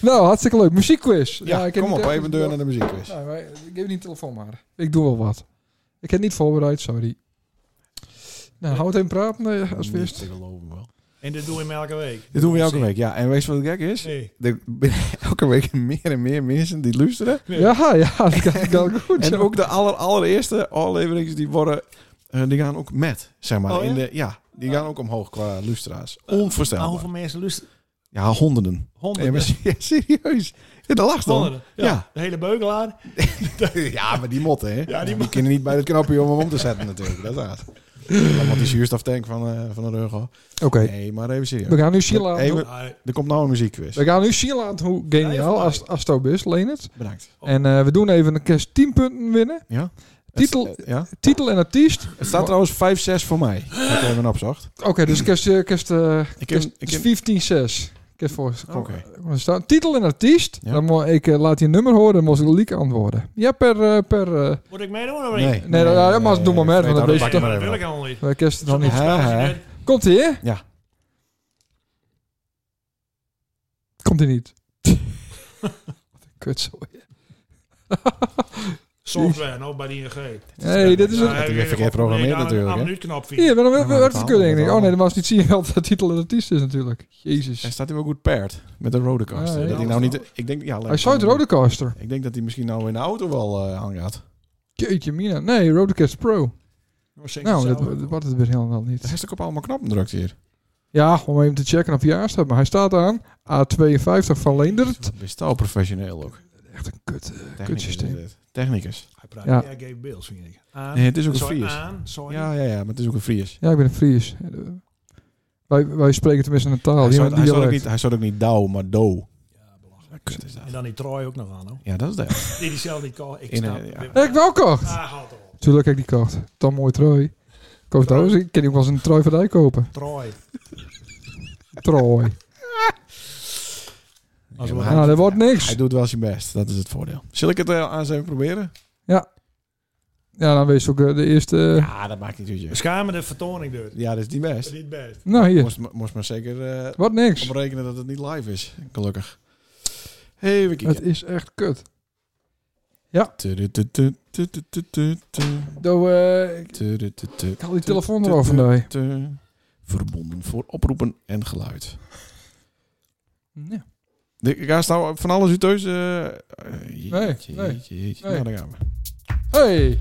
B: nou, hartstikke leuk. Muziekquiz.
A: Ja,
B: ik heb
A: kom
B: niet
A: op,
B: echt-
A: even deur naar de muziekquiz.
B: Nee, maar ik geef niet de telefoon maar. Ik doe wel wat. Ik heb niet voorbereid, sorry. Nou, hou het even praten eh, als
A: Niet
B: eerst.
A: te geloven wel.
E: eh, En dat doen we hem elke week.
A: Dit doen we elke week, ja. En weet je wat gek is?
E: Nee.
A: Er zijn elke week meer en meer mensen die luisteren.
B: Ja, ja, dat gaat wel goed.
A: En
B: ja.
A: ook de aller, allereerste afleveringen die worden, eh, die gaan ook met, zeg maar.
E: Oh, Eh, ja?
A: In de, ja, die gaan ook omhoog qua luisteraars.
E: Maar
A: Onvoorstelbaar.
E: Nou, hoeveel mensen lusten?
A: Ja, honderden. Nee,
E: Honderden.
A: maar se- serieus. Ja, dat lacht dan.
E: Honderden. Ja.
A: Ja.
E: De hele beugelaar.
A: Ja, maar die motten, hè?
E: Ja, die
A: die,
E: motten.
A: kunnen niet bij het knopje om hem om te zetten natuurlijk. Dat is raar. Want die zuurstoftank van, eh, van de Rugel.
B: Oké,
A: Nee, maar even
B: we
A: serieus.
B: gaan nu Sheila aan
A: Even-
B: hoe-
E: Ah,
A: Er komt nou een muziekquiz.
B: we gaan nu Sheila aan hoe
E: Nee,
B: geniaal
E: voor mij.
B: als, als Tobis, Lenert.
A: Bedankt.
B: En eh, we doen even een kerst 10 punten winnen.
A: Ja?
B: Titel,
A: Het, eh, ja?
B: titel en artiest.
A: het staat trouwens 5-6 voor mij. Dat hebben we opzocht.
B: Oké, dus kerst, eh, kerst, eh,
A: Ik heb,
B: kerst,
A: ik
B: dus
A: heb,
B: 15-6. Kerst voor
E: Oh.
A: Oké.
B: Er staat Titel en artiest.
A: Ja.
B: Dan moet ik eh, laat je nummer horen, dan moet ik liek antwoorden. Ja, per... eh, per eh,
E: Moet ik meedoen of
A: nee.
E: niet?
B: Nee, dat- ja, maar doe maar
A: nee,
B: maar,
A: Fred, dat Nou,
B: want dat weet
A: pak
B: je
A: ik
E: maar
A: maar
E: dat wil ik
A: even.
E: helemaal niet.
B: bij kerst dan
E: Zo'n
B: niet.
A: hè, hè.
E: opspraak-
B: Komt ie, hè?
A: Ja.
B: Komt ie niet. Wat een kut
E: Software, nou bij de ING.
B: Nee, dit is
E: Ja,
B: een...
A: Dat
E: ik
A: is
E: weet
A: verkeerd
E: nog,
A: programmeerd
E: nee, aan-
A: natuurlijk,
E: aan
A: hè?
E: een minuutknop vier.
B: Hier, maar dan werd
A: Ja,
B: werd het
A: dat
B: kut
A: allemaal,
B: denk ik.
A: dat
B: Oh nee,
A: allemaal.
B: dan was niet zien wat de titel en artiest is natuurlijk.
A: Hij
B: Jezus.
A: staat hier wel goed paired met de rodecaster.
B: Ja, ja.
A: dat hij nou niet... Ik denk, ja,
B: Hij zou het Rodecaster.
A: Ik denk dat hij misschien nou in de auto wel eh aangaat.
B: Jeetje mina. Nee, Rodecaster Pro.
E: Nou, zing
B: Nou,
E: het
B: dat,
E: zelf.
B: dat wordt het weer helemaal
A: Hij
B: niet.
A: heeft ook op allemaal knappen drukt hier.
B: Ja, om even te checken of hij aanstaat. Maar hij staat aan. A52 van Leendert.
A: Best al professioneel ook.
B: Echt een kut. eh,
A: Technicus. is
B: Kutsysteem.
A: dit. Technicus.
E: Hij praat
B: Ja.
E: ja. gave bills, vind ik. Aan,
A: Nee, het is ook een
E: sorry,
A: Fries.
E: aan, sorry.
A: Ja, ja, ja, maar het is ook een Fries.
B: Ja, ik ben een Fries. Wij, wij spreken tenminste een taal.
A: hij,
B: die
A: zou,
B: een
A: hij, zou ook
B: dialect.
A: niet, hij zou ook niet Douw, maar Do.
E: Ja,
A: Wat
E: belachelijk.
A: kut is dat?
E: En dan die Troy ook nog aan, hoor.
A: Ja, dat is dat.
E: Die diezelfde call. Ik
A: In,
E: snap
A: eh, ja.
E: het.
B: Ja, ik wel kocht.
E: Ah, houd op.
B: Tuurlijk heb ik die kocht. Dan mooi trooi. Koos
E: Trooi.
B: trouwens, ik ken ook wel eens een trooi van Dijk kopen.
E: Troy.
B: Trooi.
E: Als
A: Ja,
E: we-
A: maar
B: Nou, dat wordt niks.
A: Hij doet wel zijn best. Dat is het voordeel. Zal ik het eh, aan zijn proberen?
B: Ja, dan wees ook eh, de eerste... eh,
A: Ja, dat maakt niet
E: We
A: uit.
E: schamen de vertoning deur.
A: Ja, dat is niet
E: Dat
A: best.
E: is niet best.
B: Nou, hier.
A: Moest, maar- moest maar zeker eh,
B: Wat niks.
A: op rekenen dat het niet live is. Gelukkig. Hey, we
B: Het
A: kijken.
B: is echt kut.
A: Tudututututututu.
B: Doe, eh, ik
A: Tudututu.
B: ik haal die telefoon er al vandaan.
A: Te- Verbonden voor oproepen en geluid.
B: Ja.
A: De- Ga staan van alles uit thuis. eh, eh, jeetje,
B: nee,
A: jeetje, jeetje.
B: nee.
A: Nou, daar gaan we.
B: Hey.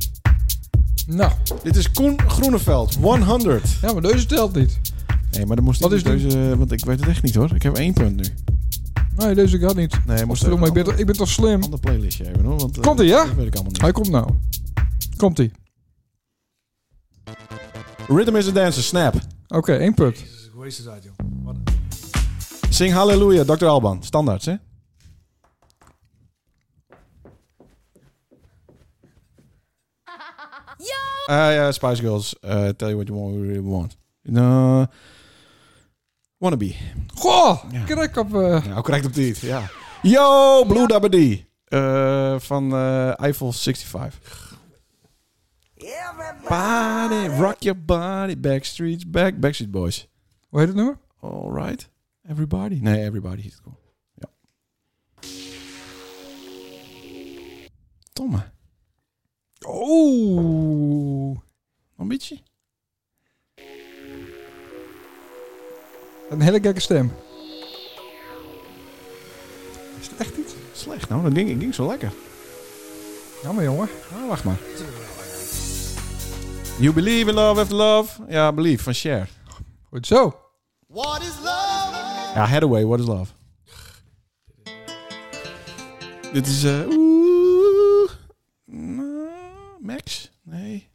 B: Nou,
A: Dit is Koen Groeneveld, 100.
B: ja, maar deze telt niet.
A: Nee, maar dan moest
B: Wat
A: ik
B: is die? Hm?
A: deze, want ik weet het echt niet hoor. Ik heb één punt nu.
B: Nee, deze gaat niet.
A: Nee,
B: Of
A: moest
B: verdomme, ik, ben
A: een
B: toch,
A: ander,
B: ik ben toch slim?
A: ander playlistje even hoor. Want, eh,
B: Komt-ie, ja?
A: Dat weet ik allemaal niet.
B: Hij komt nou. Komt-ie.
A: Rhythm is a dancer, snap.
B: Oké, één punt.
E: Jezus, hoe is het uit, joh?
A: Sing Hallelujah, Dr. Alban. Standaards, hè? Ja! Ah, ja, Spice Girls. eh, tell you what you want, we really want. No. Wannabe.
B: Goh,
A: Ja.
B: kijk op... eh,
A: Nou, correct op dit, ja. Yo, Blue Dabba D. Eh, van eh Eiffel 65. Body, rock your body. Backstreets, back. Backstreet Boys.
B: hoe heet het nummer?
A: Alright. Everybody? Nee, everybody is cool. Ja. Tomme.
B: Oeh.
A: Nog een beetje?
B: Een hele gekke stem. Is het echt iets?
A: Slecht. Nou, dat ging, ging zo lekker.
B: Jammer jongen.
A: Ah, wacht maar. You believe in love after love. Ja, believe van Cher.
B: Goed zo.
A: Ja, Hathaway, what is love? Dit is... eh oeh. Nou, Max? Nee.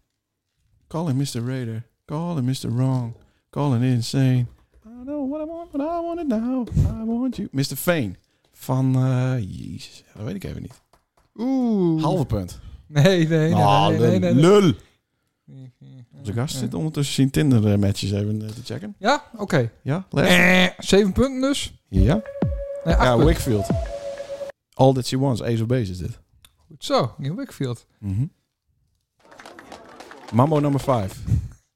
A: Calling Mr. Raider. Calling Mr. Wrong. Calling Insane. I know what I want, but I want it now. I want you. Mr. Fane. Van... eh Jezus, dat weet ik even niet.
B: Oeh.
A: Halve punt.
B: Nee, nee, nee, nee,
A: Ah,
B: nee, nee, nee,
A: lul. Onze gast zit ondertussen zijn Tinder-matches even eh, te checken.
B: Ja, oké.
A: Ja, Les?
B: Eh, Zeven punten dus.
A: Ja,
B: Nee, acht
A: ja
B: punten.
A: Wakefield. All That She Wants, Ace of Base is dit.
B: Goed zo, Neil Wickfield.
A: Mambo nummer 5.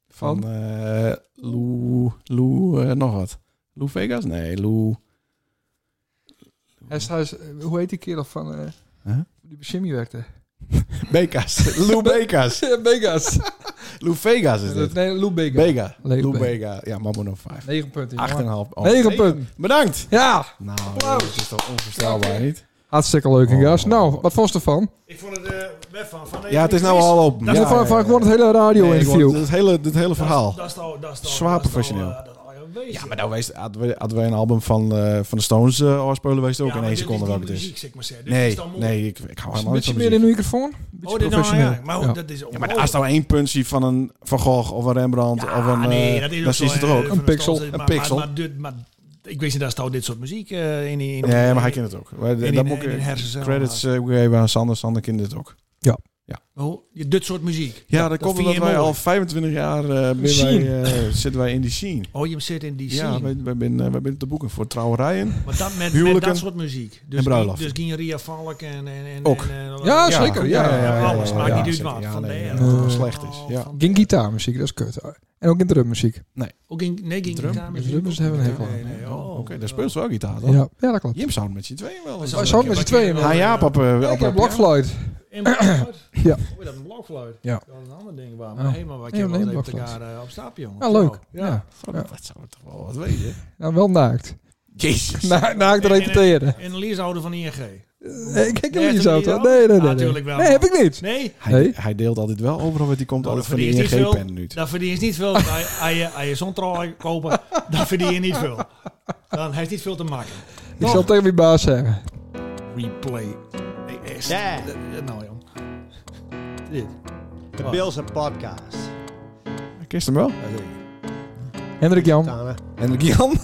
A: Van
B: Van?
A: eh Lou, Lou eh, nog wat. Lou Vegas? Nee, Lou...
B: Hij is, hij is- eh, hoe heet die kerel van eh,
A: Huh?
B: die bij Jimmy werkte?
A: Bekas. Lou Bekas.
B: Vegas.
A: Lou Vegas is dit.
B: nee, Lou Vegas.
A: Bega.
B: Leo
A: Lou
B: Bega.
A: Bega. Ja, Mambo nummer 5.
B: Negen punten. jongen.
A: 8,5. Oh,
B: Negen
A: negen.
B: punten.
A: Bedankt.
B: Ja,
A: Nou, joh, dit is toch onvoorstelbaar, niet?
B: hartstikke leuk,
A: Oh.
B: gast. Nou, wat vond je ervan?
E: Ik vond het eh weg van. van
A: Ja, het is nou al open.
E: Dat
B: Ja,
A: ja,
B: van,
A: ja,
B: van
A: ja.
B: gewoon het hele radio-interview.
A: Nee, ik wou- het hele, dit hele verhaal.
E: Dat is al, dat is al, eh,
A: Zwaar professioneel.
E: Ja,
A: Ja, maar nou wees, hadden, we, hadden wij een album van, eh, van de Stones eh afspelen, wees het ook in
E: maar
A: één
E: dit
A: seconde
E: is
A: welke
E: niet
A: het is.
E: muziek, zeg maar zeggen. Dit is
A: Nee,
E: dan moeilijk.
A: nee, ik, ik hou
B: Een
A: helemaal niet
B: beetje
A: van
B: meer in
A: muziek.
B: de microfoon. Een beetje
E: Oh, dit nou,
B: professioneel.
E: ja, maar
B: Ja.
E: hoe- dat is oh.
A: Ja, maar als nou één puntje van een Van Gogh of een Rembrandt
E: Ja,
A: of een...
E: Ah, nee,
A: eh,
E: dat is
A: dan
E: ook
A: zie je
E: zo,
A: ze toch
E: eh,
A: ook?
E: van de
B: Een pixel,
E: Stones,
A: een
E: maar-
A: pixel.
E: Maar, maar, dit- maar ik weet niet, daar staat dit soort muziek eh, in. in, in
A: Nee, maar hij kent het ook. Wij-
E: in-
A: dat
E: in-
A: moet ik
E: in
A: eh,
E: hersencellen.
A: credits eh, ook geven aan Sander. Sander kent het ook.
E: Oh, je- dit soort muziek.
A: Ja, dat, komt
E: vind
A: omdat
E: je
A: wij
E: mooi.
A: al 25 jaar eh, ben wij,
B: Scene.
A: eh, zitten wij in die scene.
E: Oh, je zit in die scene.
A: Ja, wij, wij, ben, eh, wij ben te boeken voor trouwerijen.
E: Maar dat met, met
A: Huwelijken
E: dat soort muziek. Dus,
A: en bruiloften.
E: Dus ging Ria Valk en... en, en
A: Ook.
E: En, eh,
B: Ja, zeker. Ja, ja, ja, ja,
E: Alles
B: ja,
E: maakt
B: ja,
E: niet uit
A: zeker.
E: wat.
A: Ja,
E: Van
A: nee,
E: de-
A: ja,
E: eh,
A: dat het slecht is,
E: oh,
A: ja.
E: van-
B: Geen gitaarmuziek, dat is kut. En ook in drummuziek.
E: Ook in, nee, geen
A: Drum.
E: gitaar
B: Dus
E: muziek.
B: drummers hebben een hekel aan.
E: Nee, nee, oh.
A: Oké, daar speelt ze wel gitaar, toch?
B: Ja, ja dat klopt.
A: Jim zou het met z'n tweeën wel eens...
E: zouden
B: Ze hadden met z'n tweeën.
A: Ah ja, op, eh, op-
B: Ik heb
A: op-
B: blokfluit.
E: En blokfluit?
B: Ja.
E: Oh, dat is een blokfluit.
B: Ja. Oh.
E: Dat is een ander ding waar.
B: Ja.
E: Maar helemaal wat
B: Nee,
E: je
B: nee,
E: wel met
B: blokfluit.
E: elkaar eh, op stap, jongen.
B: Ja, leuk.
E: Ja.
B: Ja.
A: Ja. Oh, Dat zou toch wel wat weten.
B: Nou, wel naakt.
A: Jezus.
B: Na, naakt
E: En- en-
B: repeteren.
E: En Lies ouder van ING.
B: Nee, ik heb
E: Nee,
B: niet
E: heb
B: zo.
E: je die
B: toch?
E: ook?
B: Nee, nee, nee.
E: Ah,
B: nee.
E: tuurlijk wel.
B: Nee, heb ik niet.
E: Nee,
A: Hij,
B: Nee.
A: hij deelt altijd wel overal, want die komt
E: Nou,
A: altijd van
E: dat
A: die
E: verdient niet veel. Nou.
A: ING-pen nu.
E: dat verdien je niet veel. Als je- Als je- als je zo'n trui kopen, dan verdien je niet veel. Dan heeft niet veel te maken.
B: Ik zal tegen mijn baas zeggen.
E: Replay. Nee, echt.
C: Yeah.
E: Eh, Nou, jong. Dit.
C: De Bills en podcast.
A: Kist hem wel.
B: Hendrik Jan.
C: Tana.
A: Hendrik Jan.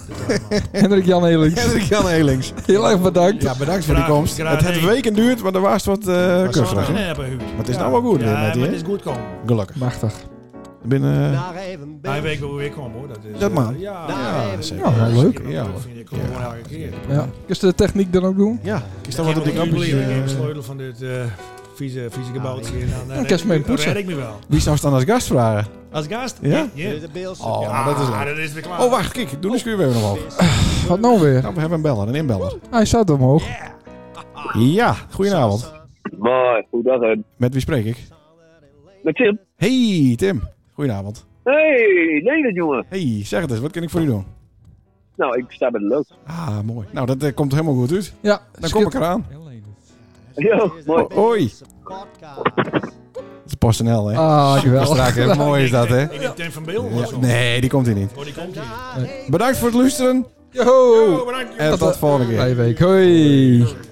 B: Hendrik Jan Helix.
A: Hendrik Jan Helings.
B: Heel erg bedankt.
A: Ja, bedankt voor de
E: Graag-
A: komst.
E: graag
A: het heeft een
E: gedaan.
A: week duurt, maar er was wat eh
E: Dat zou
A: kunstgras,
E: nog
A: hè? Maar
E: hebben, Huub.
A: het is nou wel goed
E: Ja,
A: weer
E: maar
A: met
E: het
A: die,
E: is
A: hè?
E: goed komen.
A: Gelukkig.
B: Machtig.
A: Binnen... eh,
C: Naar even
E: Hij
C: Bills.
E: weet wel weer komen, hoor. Dat, is,
A: Dat
E: eh,
A: mag.
E: Ja,
C: Daar
A: ja,
C: even
A: zeker.
B: Ja, wel leuk.
A: Ja,
E: Ja,
A: hoor.
E: vind ik kom gewoon elke keer.
B: Ja. Kun je de techniek dan ook doen?
A: Ja, is dat
E: Als
A: wat
E: ik
A: op de
E: heb
A: knopjes...
E: de
A: eh,
E: sleutel van dit eh, vieze, vieze gebouwtje. Dan, dan
B: ik
E: red
B: eens mee
E: me-
B: poetsen.
E: red ik me wel.
A: Wie zou het dan als gast vragen?
E: Als gast?
A: Ja?
C: Dit is De Bills.
A: Oh,
C: Ja.
A: maar dat is
E: Ah,
A: leuk.
E: dat is weer klaar.
A: Oh, wacht, kijk. Doe eens weer even omhoog.
B: Wat nou weer?
A: Ja, we hebben een beller, een inbeller.
B: Hij staat omhoog.
A: Ja, goedenavond.
F: Mooi, goed dat het.
A: Met wie spreek ik?
F: Met Tim.
A: Hey, Tim. Goedenavond.
F: Hey, nee dat jongen.
A: Hey, zeg het eens. Wat kan ik voor u doen?
F: Nou, ik sta bij de lood.
A: Ah, mooi. Nou, dat eh, komt helemaal goed uit.
B: Ja,
A: Dan kom ik eraan.
F: Yo, mooi.
A: Hoi.
C: Podcast.
A: Het is PostNL, hè?
B: Ah,
A: Strak,
B: geweldig.
A: hè? Mooi is dat, hè?
E: Ik denk Tim van Beel.
A: Ja,
E: of zo.
A: nee, die komt hier niet.
E: Oh, die komt hier.
C: Naar even
A: Bedankt voor het luisteren
B: Yo!
E: Oh, bedankt.
A: en tot volgende keer.
B: Bij week. Hoi.